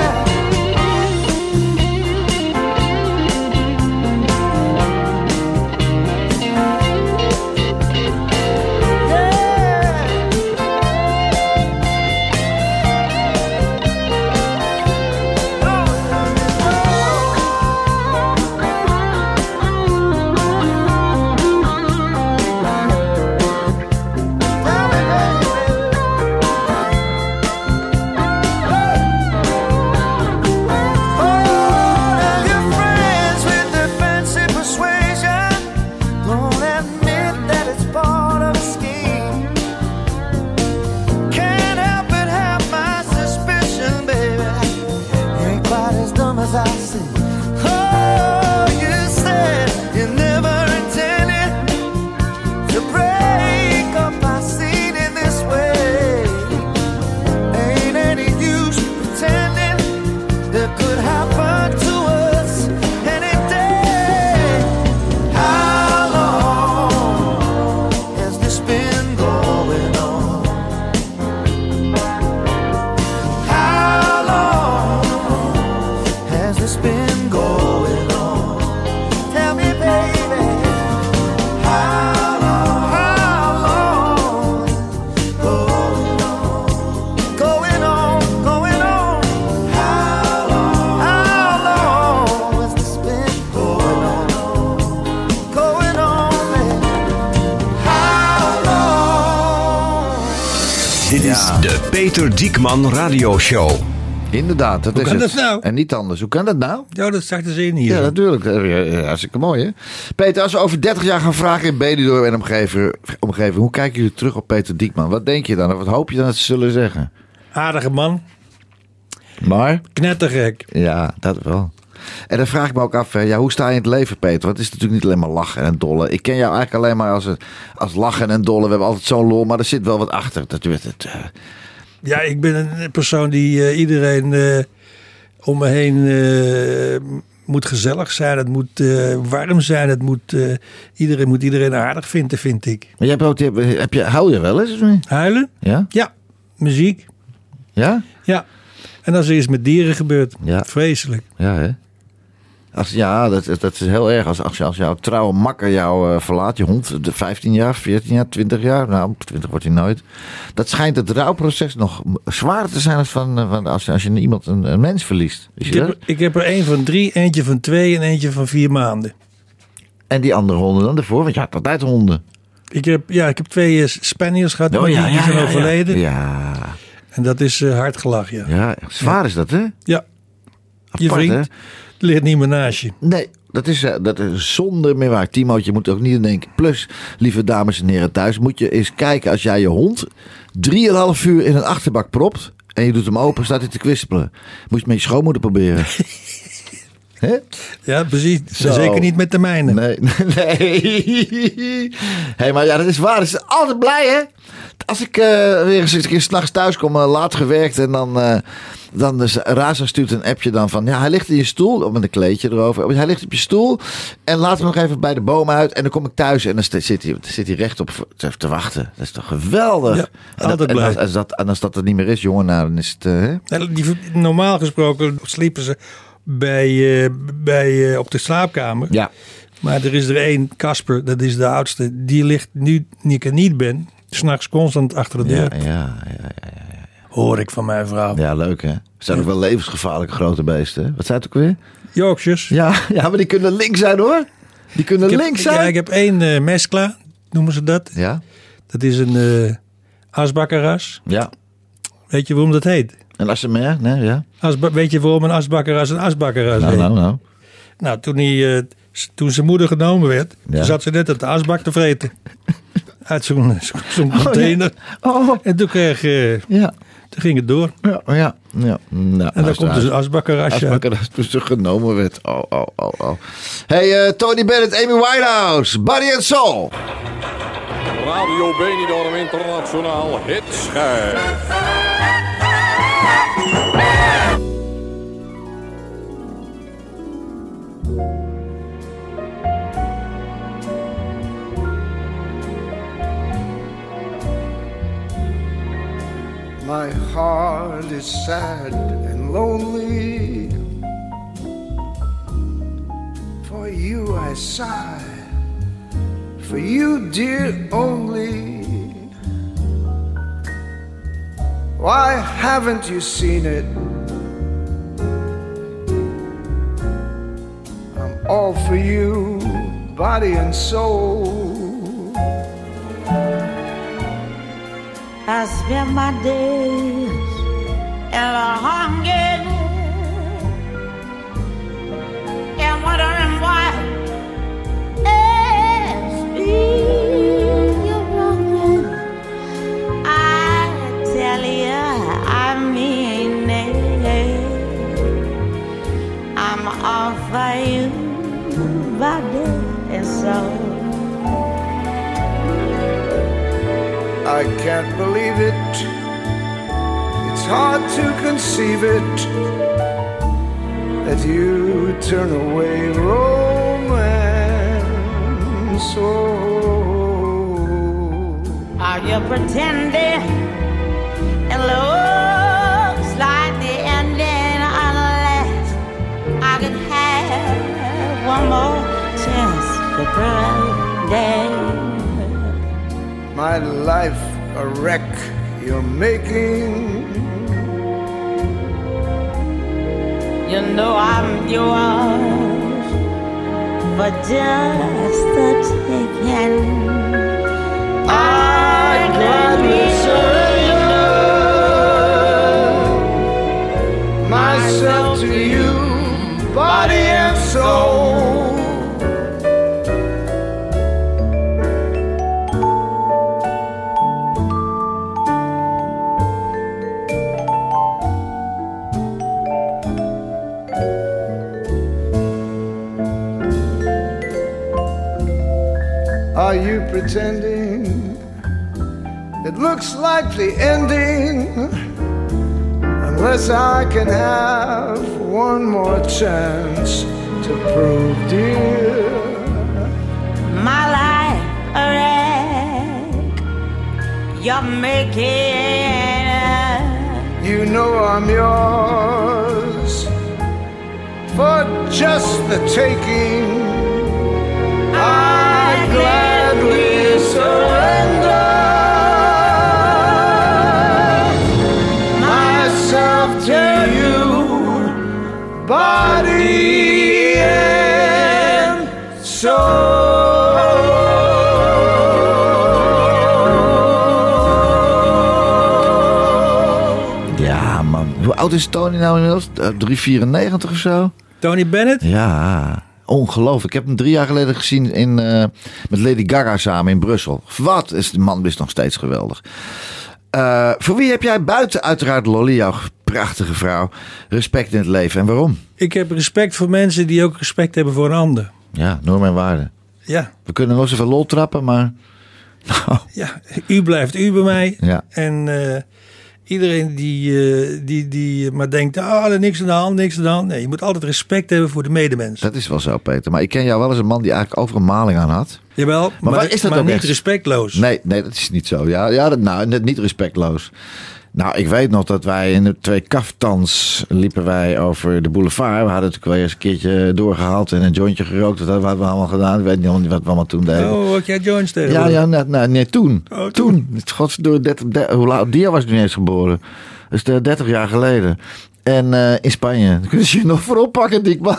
Speaker 12: As I see, oh, you said you never intended to break up our scene in this way. Ain't any use pretending that could happen to us any day. How long has this been going on? How long has this been going on? Tell me, baby. How long, how long going on, going on? How long, how long has this been going on, going on, baby? How long?
Speaker 1: Dit is de Peter Diekman Radio Show.
Speaker 2: Inderdaad, dat
Speaker 6: Hoe
Speaker 2: is
Speaker 6: kan
Speaker 2: het.
Speaker 6: dat nou?
Speaker 2: En niet anders. Hoe kan dat nou?
Speaker 6: Ja, dat zag de zin hier.
Speaker 2: Ja, natuurlijk. Eh, eh, Hartstikke mooi, hè? Peter, als we over 30 jaar gaan vragen in Benidorm en omgeving, omgeving... hoe kijken jullie terug op Peter Diekman? Wat denk je dan? Of wat hoop je dan dat ze zullen zeggen?
Speaker 6: Aardige man.
Speaker 2: Maar,
Speaker 6: Knettergek.
Speaker 2: ja, dat wel. En dan vraag ik me ook af, hè, ja, hoe sta je in het leven, Peter? Want het is natuurlijk niet alleen maar lachen en dollen. Ik ken jou eigenlijk alleen maar als, een- als lachen en dollen. We hebben altijd zo'n lol, maar er zit wel wat achter. Dat werd het. eh,
Speaker 6: Ja, ik ben een persoon die eh, iedereen eh, om me heen eh, moet gezellig zijn, het moet eh, warm zijn, het moet, eh, iedereen moet iedereen aardig vinden, vind ik.
Speaker 2: Maar jij hebt ook, heb, heb je, huil je wel eens? of niet?
Speaker 6: Huilen?
Speaker 2: Ja?
Speaker 6: Ja, muziek.
Speaker 2: Ja?
Speaker 6: Ja. En als er iets met dieren gebeurt,
Speaker 2: Ja.
Speaker 6: vreselijk.
Speaker 2: Ja, hè? Als, ja, dat, dat is heel erg. Als, als, je- als jouw trouwe makker jou eh, verlaat, je hond, de 15 jaar, 14 jaar, 20 jaar, nou, 20 wordt hij nooit. Dat schijnt het rouwproces nog m- zwaarder te zijn als, van, eh, van als, als je iemand, een, een mens verliest. Is
Speaker 6: Ik
Speaker 2: je
Speaker 6: heb,
Speaker 2: dat?
Speaker 6: er- ik heb er één van drie, eentje van twee en eentje van vier maanden.
Speaker 2: En die andere honden dan ervoor, want je had altijd honden.
Speaker 6: Ik heb, ja, ik heb twee eh, Spaniërs gehad,
Speaker 2: Oh,
Speaker 6: maar die,
Speaker 2: ja,
Speaker 6: die
Speaker 2: ja,
Speaker 6: zijn
Speaker 2: ja, ja.
Speaker 6: overleden.
Speaker 2: Ja,
Speaker 6: En dat is eh, hard gelach, ja.
Speaker 2: ja, zwaar is dat, hè?
Speaker 6: Ja. Je
Speaker 2: Apart,
Speaker 6: vriend leert niet meer naast je.
Speaker 2: Nee, dat is, eh, dat is zonder meer waar. Timootje moet ook niet in denken. Plus, lieve dames en heren thuis, moet je eens kijken als jij je hond 3,5 uur in een achterbak propt en je doet hem open, staat hij te kwispelen. Moet je het met je schoonmoeder proberen. Hè?
Speaker 6: Ja, precies.
Speaker 2: Zo.
Speaker 6: Zeker niet met de mijne.
Speaker 2: Nee, nee. Hé, maar ja, dat is waar. Dat is altijd blij, hè? Als ik eh, weer eens een keer s'nachts thuis kom, eh, laat gewerkt en dan... eh dan dus, Raza stuurt een appje dan van... Ja, hij ligt in je stoel, oh, met een kleedje erover. Hij ligt op je stoel en laat hem nog even bij de boom uit. En dan kom ik thuis en dan st- zit hij, zit hij rechtop te, te wachten. Dat is toch geweldig?
Speaker 6: Ja,
Speaker 2: en, dat,
Speaker 6: altijd
Speaker 2: en,
Speaker 6: blij.
Speaker 2: als, als dat, en als dat er niet meer is, jongen, nou, dan is het... eh, hè?
Speaker 6: Nou, die- normaal gesproken sliepen ze bij, eh, bij, eh, op de slaapkamer.
Speaker 2: Ja.
Speaker 6: Maar er is er één, Casper, dat is de oudste. Die ligt nu, nu ik er niet ben, s'nachts constant achter de
Speaker 2: Ja, eh,
Speaker 6: deur.
Speaker 2: ja, ja, ja, ja.
Speaker 6: Hoor ik van mijn vrouw.
Speaker 2: Ja, leuk hè. Het zijn ook wel levensgevaarlijke grote beesten. hè? eh, Wat zijn het ook weer?
Speaker 6: Yorkshires.
Speaker 2: Ja, ja maar die kunnen link zijn hoor. Die kunnen
Speaker 6: Ik heb-
Speaker 2: link zijn.
Speaker 6: Ja, ik heb één eh, mescla, noemen ze dat.
Speaker 2: Ja,
Speaker 6: Dat is een eh asbakkerras.
Speaker 2: ja.
Speaker 6: Weet je waarom dat heet?
Speaker 2: En als ze meer, nee, ja.
Speaker 6: Asba- weet je waarom een asbakkerras een asbakkerras
Speaker 2: Nou,
Speaker 6: heet?
Speaker 2: nou, nou.
Speaker 6: Nou, toen, hij, eh, s- toen zijn moeder genomen werd,
Speaker 2: Ja.
Speaker 6: toen zat ze net uit de asbak te vreten. Uit zo'n zo- zo'n container. En toen, kreeg, eh,
Speaker 2: Oh, Ja,
Speaker 6: toen ging het door.
Speaker 2: ja, Oh, ja. ja. Nou,
Speaker 6: En dan
Speaker 2: luister,
Speaker 6: komt dus een asbakkerasje uit.
Speaker 2: Afspraken dat toen ze genomen werd. Oh, oh, oh, oh. Hey, eh, Tony Bennett, Amy Winehouse, Body and Soul.
Speaker 13: Radio Benidorm Internationaal Hitschijf.
Speaker 14: My heart is sad and lonely. For you I sigh, for you, dear, only. Why haven't you seen it? I'm all for you, body and soul.
Speaker 15: I spend my days in a hunger and wondering why it's me you're wronging. I tell you, I mean it. I'm all for you, body and soul.
Speaker 14: I can't believe it. It's hard to conceive it that you turn away romance. Oh,
Speaker 15: Are you pretending? It looks like the ending unless I could have one more chance for Friday.
Speaker 14: my life a wreck you're making.
Speaker 15: You know I'm yours, but just the taking. I gladly
Speaker 9: Eh.
Speaker 14: surrender myself to you, body and soul. Are you pretending? It looks like the ending. Unless I can have one more chance to prove, dear.
Speaker 15: My life a wreck. You're making
Speaker 14: You know I'm yours for just the taking. I gladly surrender myself to you, body and soul.
Speaker 2: Ja, man. Hoe oud is Tony nou inmiddels? Eh, 394 of zo?
Speaker 6: Tony Bennett?
Speaker 2: Ja, ongelooflijk. Ik heb hem drie jaar geleden gezien in, eh, met Lady Gaga samen in Brussel. Wat is de man is nog steeds geweldig. Eh, voor wie heb jij buiten uiteraard Lolly, jouw prachtige vrouw, respect in het leven en waarom?
Speaker 6: Ik heb respect voor mensen die ook respect hebben voor een ander.
Speaker 2: Ja, normen en waarden.
Speaker 6: Ja.
Speaker 2: We kunnen nog zoveel lol trappen, maar... Nou,
Speaker 6: Ja, u blijft u bij mij.
Speaker 2: Ja.
Speaker 6: En eh, iedereen die, eh, die, die maar denkt, ah, er niks aan de hand, niks aan de hand. Nee, je moet altijd respect hebben voor de medemens.
Speaker 2: Dat is wel zo, Peter. Maar ik ken jou wel als een man die eigenlijk overal maling aan had.
Speaker 6: Jawel, maar,
Speaker 2: waar is dat
Speaker 6: maar
Speaker 2: ook
Speaker 6: niet
Speaker 2: echt?
Speaker 6: respectloos.
Speaker 2: Nee, nee, dat is niet zo. Ja, ja dat, nou, net niet respectloos. Nou, ik weet nog dat wij in de twee kaftans liepen wij over de boulevard. We hadden natuurlijk wel eens een keertje doorgehaald en een jointje gerookt. Dat hadden we allemaal gedaan. Ik weet niet wat we allemaal toen deden.
Speaker 6: Oh, wat jij Jones
Speaker 2: ja,
Speaker 6: tegenwoordig.
Speaker 2: ja, nee, nee, nee, toen. toen. Godverdomme, 30, 30 hoe laat, die was ik niet eens geboren. Dus eh, 30 jaar geleden. En eh, in Spanje. Daar kunnen ze je nog voor oppakken, dikman.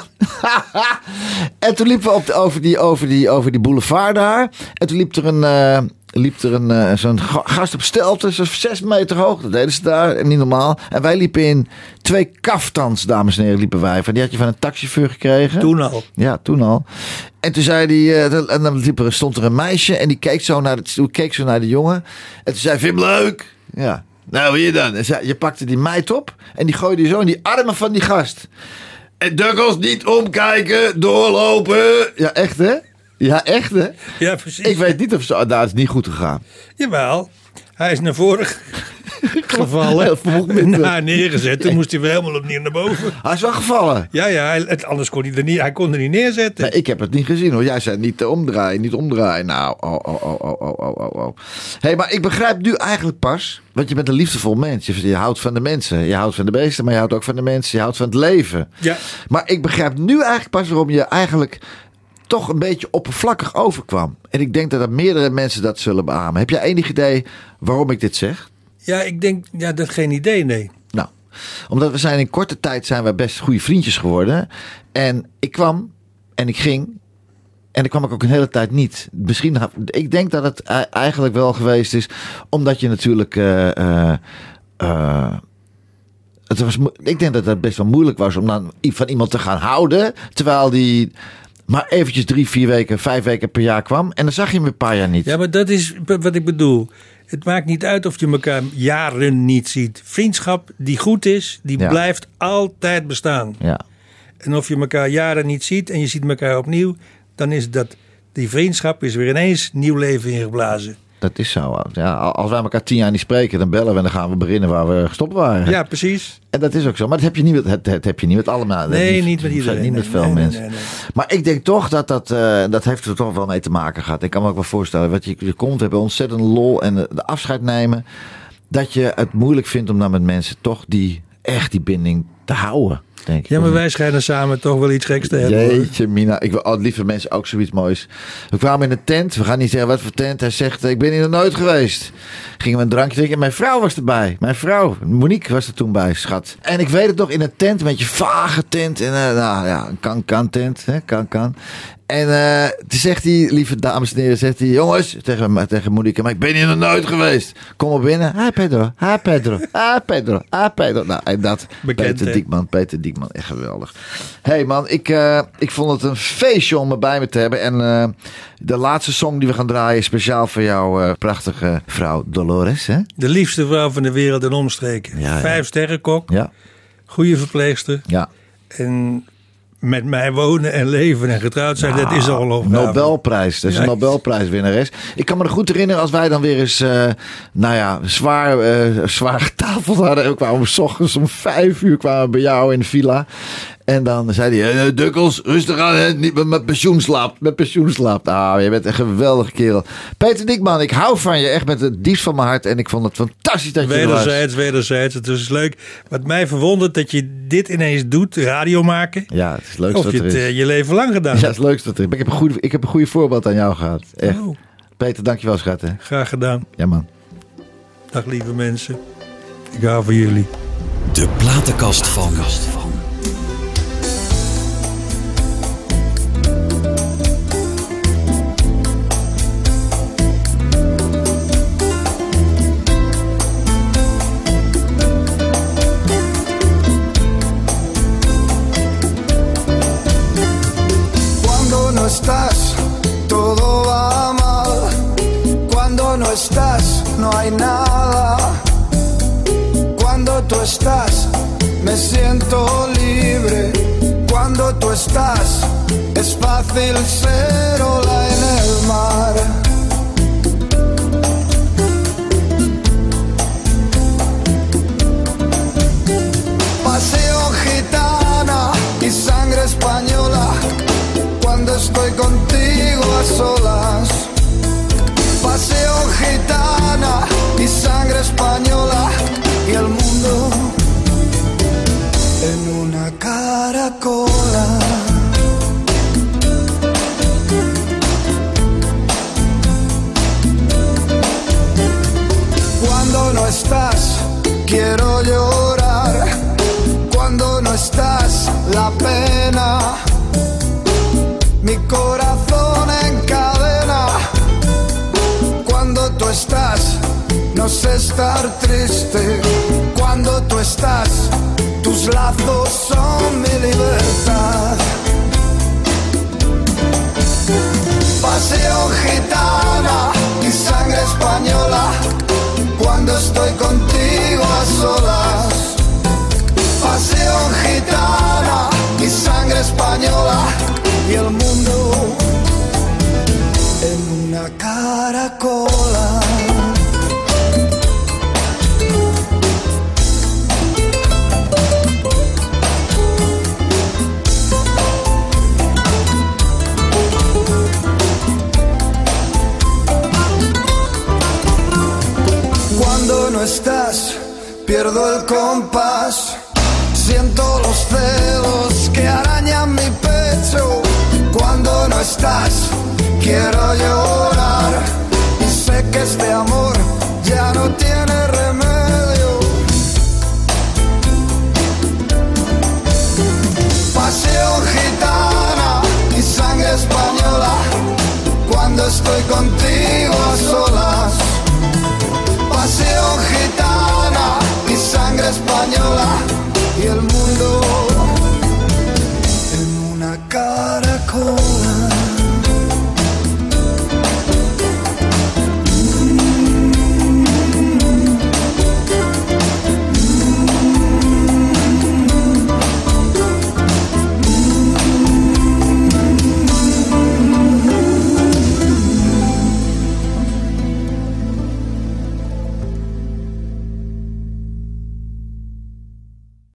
Speaker 2: en toen liepen we op de, over, die, over, die, over die boulevard daar. En toen liep er een... eh, Liep er een, eh, zo'n ga- gast op stelte, zo'n zes meter hoog. Dat deden ze daar, en niet normaal. En wij liepen in twee kaftans, dames en heren, liepen wij. Van, die had je van een taxichauffeur gekregen.
Speaker 6: Toen al.
Speaker 2: Ja, toen al. En toen zei die, eh, dat- en dan liep er, stond er een meisje en die keek zo naar, het, die keek zo naar de jongen. En toen zei, vind je hem leuk? Ja. Nou, hier dan. En zei, je pakte die meid op en die gooide die zo in die armen van die gast. En Duggles, niet omkijken, doorlopen. Ja, echt hè? Ja, echt hè?
Speaker 6: Ja, precies.
Speaker 2: Ik weet niet of ze, daar is het niet goed gegaan.
Speaker 6: Jawel, hij is naar voren
Speaker 2: Heel
Speaker 6: gevallen.
Speaker 2: vermoeiend.
Speaker 6: Naar neergezet, toen moest hij weer helemaal opnieuw naar boven.
Speaker 2: Hij is wel gevallen.
Speaker 6: Ja, ja, hij- het, anders kon hij er niet, hij kon er niet neerzetten.
Speaker 2: Nee, ik heb het niet gezien hoor. Jij zei niet eh, omdraaien, niet omdraaien. Nou, oh, oh, oh, oh, oh, oh, oh, oh. hey, maar ik begrijp nu eigenlijk pas, want je bent een liefdevol mens. Je, je houdt van de mensen, je houdt van de beesten, maar je houdt ook van de mensen. Je houdt van het leven.
Speaker 6: Ja.
Speaker 2: Maar ik begrijp nu eigenlijk pas waarom je eigenlijk toch een beetje oppervlakkig overkwam. En ik denk dat er meerdere mensen dat zullen beamen. Heb jij enig idee waarom ik dit zeg?
Speaker 6: Ja, ik denk, ja, dat geen idee, nee.
Speaker 2: Nou, omdat we zijn in korte tijd zijn we best goede vriendjes geworden. En ik kwam en ik ging. En dan kwam ik ook een hele tijd niet. Misschien, ha- ik denk dat het ei- eigenlijk wel geweest is. Omdat je natuurlijk. eh, eh, eh, het was, mo- ik denk dat het best wel moeilijk was om dan i- van iemand te gaan houden. Terwijl die maar eventjes drie, vier weken, vijf weken per jaar kwam. En dan zag je hem een paar jaar niet.
Speaker 6: Ja, maar dat is b- wat ik bedoel. Het maakt niet uit of je elkaar jaren niet ziet. Vriendschap die goed is, die
Speaker 2: Ja.
Speaker 6: blijft altijd bestaan.
Speaker 2: Ja.
Speaker 6: En of je elkaar jaren niet ziet en je ziet elkaar opnieuw, dan is dat die vriendschap is weer ineens nieuw leven ingeblazen.
Speaker 2: Dat is zo. Ja, al- als wij elkaar tien jaar niet spreken, dan bellen we en dan gaan we beginnen waar we gestopt waren.
Speaker 6: Ja, precies.
Speaker 2: En dat is ook zo. Maar dat heb je niet met, het, het heb je niet met allemaal.
Speaker 6: Nee,
Speaker 2: Dat is-
Speaker 6: niet met iedereen.
Speaker 2: Niet met
Speaker 6: Nee,
Speaker 2: veel
Speaker 6: nee, nee,
Speaker 2: mensen.
Speaker 6: nee,
Speaker 2: Maar ik denk toch dat dat, eh, dat heeft er toch wel mee te maken gehad. Ik kan me ook wel voorstellen. Wat je, je komt, we hebben ontzettend lol en eh, de afscheid nemen. Dat je het moeilijk vindt om dan met mensen toch die, echt die binding te houden. Denk ik.
Speaker 6: Ja, maar wij schijnen samen toch wel iets geks te hebben. hoor.
Speaker 2: Jeetje, Mina. Ik wil oh, lieve mensen ook zoiets moois. We kwamen in een tent. We gaan niet zeggen wat voor tent. Hij zegt, eh, ik ben hier nog nooit geweest. Gingen we een drankje drinken. Mijn vrouw was erbij. Mijn vrouw, Monique, was er toen bij, schat. En ik weet het nog, in een tent, een beetje vage tent. En, eh, nou ja, een kan-kan tent. Hè, kan-kan. En eh, toen zegt hij, lieve dames en heren, zegt hij... Jongens, tegen, me- tegen Monique, maar ik ben hier nog nooit geweest. Kom maar binnen. Hi Pedro, hi Pedro, hi Pedro, hi Pedro. Nou, en dat,
Speaker 6: Bekend,
Speaker 2: Peter
Speaker 6: hè?
Speaker 2: Diekman, Peter Diekman, echt geweldig. Hé hey man, ik, eh, ik vond het een feestje om me bij me te hebben. En eh, de laatste song die we gaan draaien is speciaal voor jouw eh, prachtige vrouw Dolores, hè?
Speaker 6: De liefste vrouw van de wereld en omstreken.
Speaker 2: Ja, ja.
Speaker 6: Vijf sterrenkok,
Speaker 2: Ja,
Speaker 6: goede verpleegster.
Speaker 2: ja.
Speaker 6: En met mij wonen en leven en getrouwd zijn,
Speaker 2: Nou,
Speaker 6: dat is al een opgave.
Speaker 2: Nobelprijs. Dat is een
Speaker 6: Ja.
Speaker 2: Nobelprijswinnares. Ik kan me nog goed herinneren als wij dan weer eens, eh, nou ja, zwaar, eh, zwaar getafeld hadden. We kwamen s ochtends om vijf uur kwamen we bij jou in de villa. En dan zei hij, eh, eh, Dukkels, rustig aan, hè, niet met, met pensioen slaapt. Met pensioen slaapt. Ah, je bent een geweldige kerel. Peter Dikman, ik hou van je echt met het diepst van mijn hart. En ik vond het fantastisch dat je er was.
Speaker 6: Wederzijds, wederzijds. Het is leuk. Wat mij verwondert dat je dit ineens doet, radio maken.
Speaker 2: Ja, het is het leukste
Speaker 6: Of
Speaker 2: dat
Speaker 6: je
Speaker 2: er
Speaker 6: het
Speaker 2: is.
Speaker 6: eh, je leven lang gedaan
Speaker 2: Ja, het
Speaker 6: hebt.
Speaker 2: is het leukste dat er is. Maar Ik heb een goede, ik heb een goede voorbeeld aan jou gehad. Echt.
Speaker 6: Oh.
Speaker 2: Peter, dankjewel schat. Hè.
Speaker 6: Graag gedaan.
Speaker 2: Ja man.
Speaker 6: Dag lieve mensen. Ik hou van jullie.
Speaker 1: De platenkast van.
Speaker 16: Cuando no estás, todo va mal. Cuando no estás, no hay nada. Cuando tú estás, me siento libre. Cuando tú estás, es fácil ser ola en el mar. Paseo gitana y sangre española cuando estoy contigo a solas. Paseo gitana y sangre española y el mundo en una caracola. Cuando no estás, quiero llorar. Cuando no estás, la pena mi corazón en cadena. Cuando tú estás, no sé estar triste. Cuando tú estás, tus lazos son mi libertad. Paseo gitana y sangre española. Cuando estoy contigo a solas. Paseo gitana y sangre española y el mundo en una caracola. Cuando no estás, pierdo el compás. Siento los celos que arañan mi pecho. Cuando no estás, quiero llorar. Y sé que este amor ya no tiene remedio. Paseo gitana y sangre española. Cuando estoy contigo a solas. Paseo gitana y sangre española y el mundo en una caracola.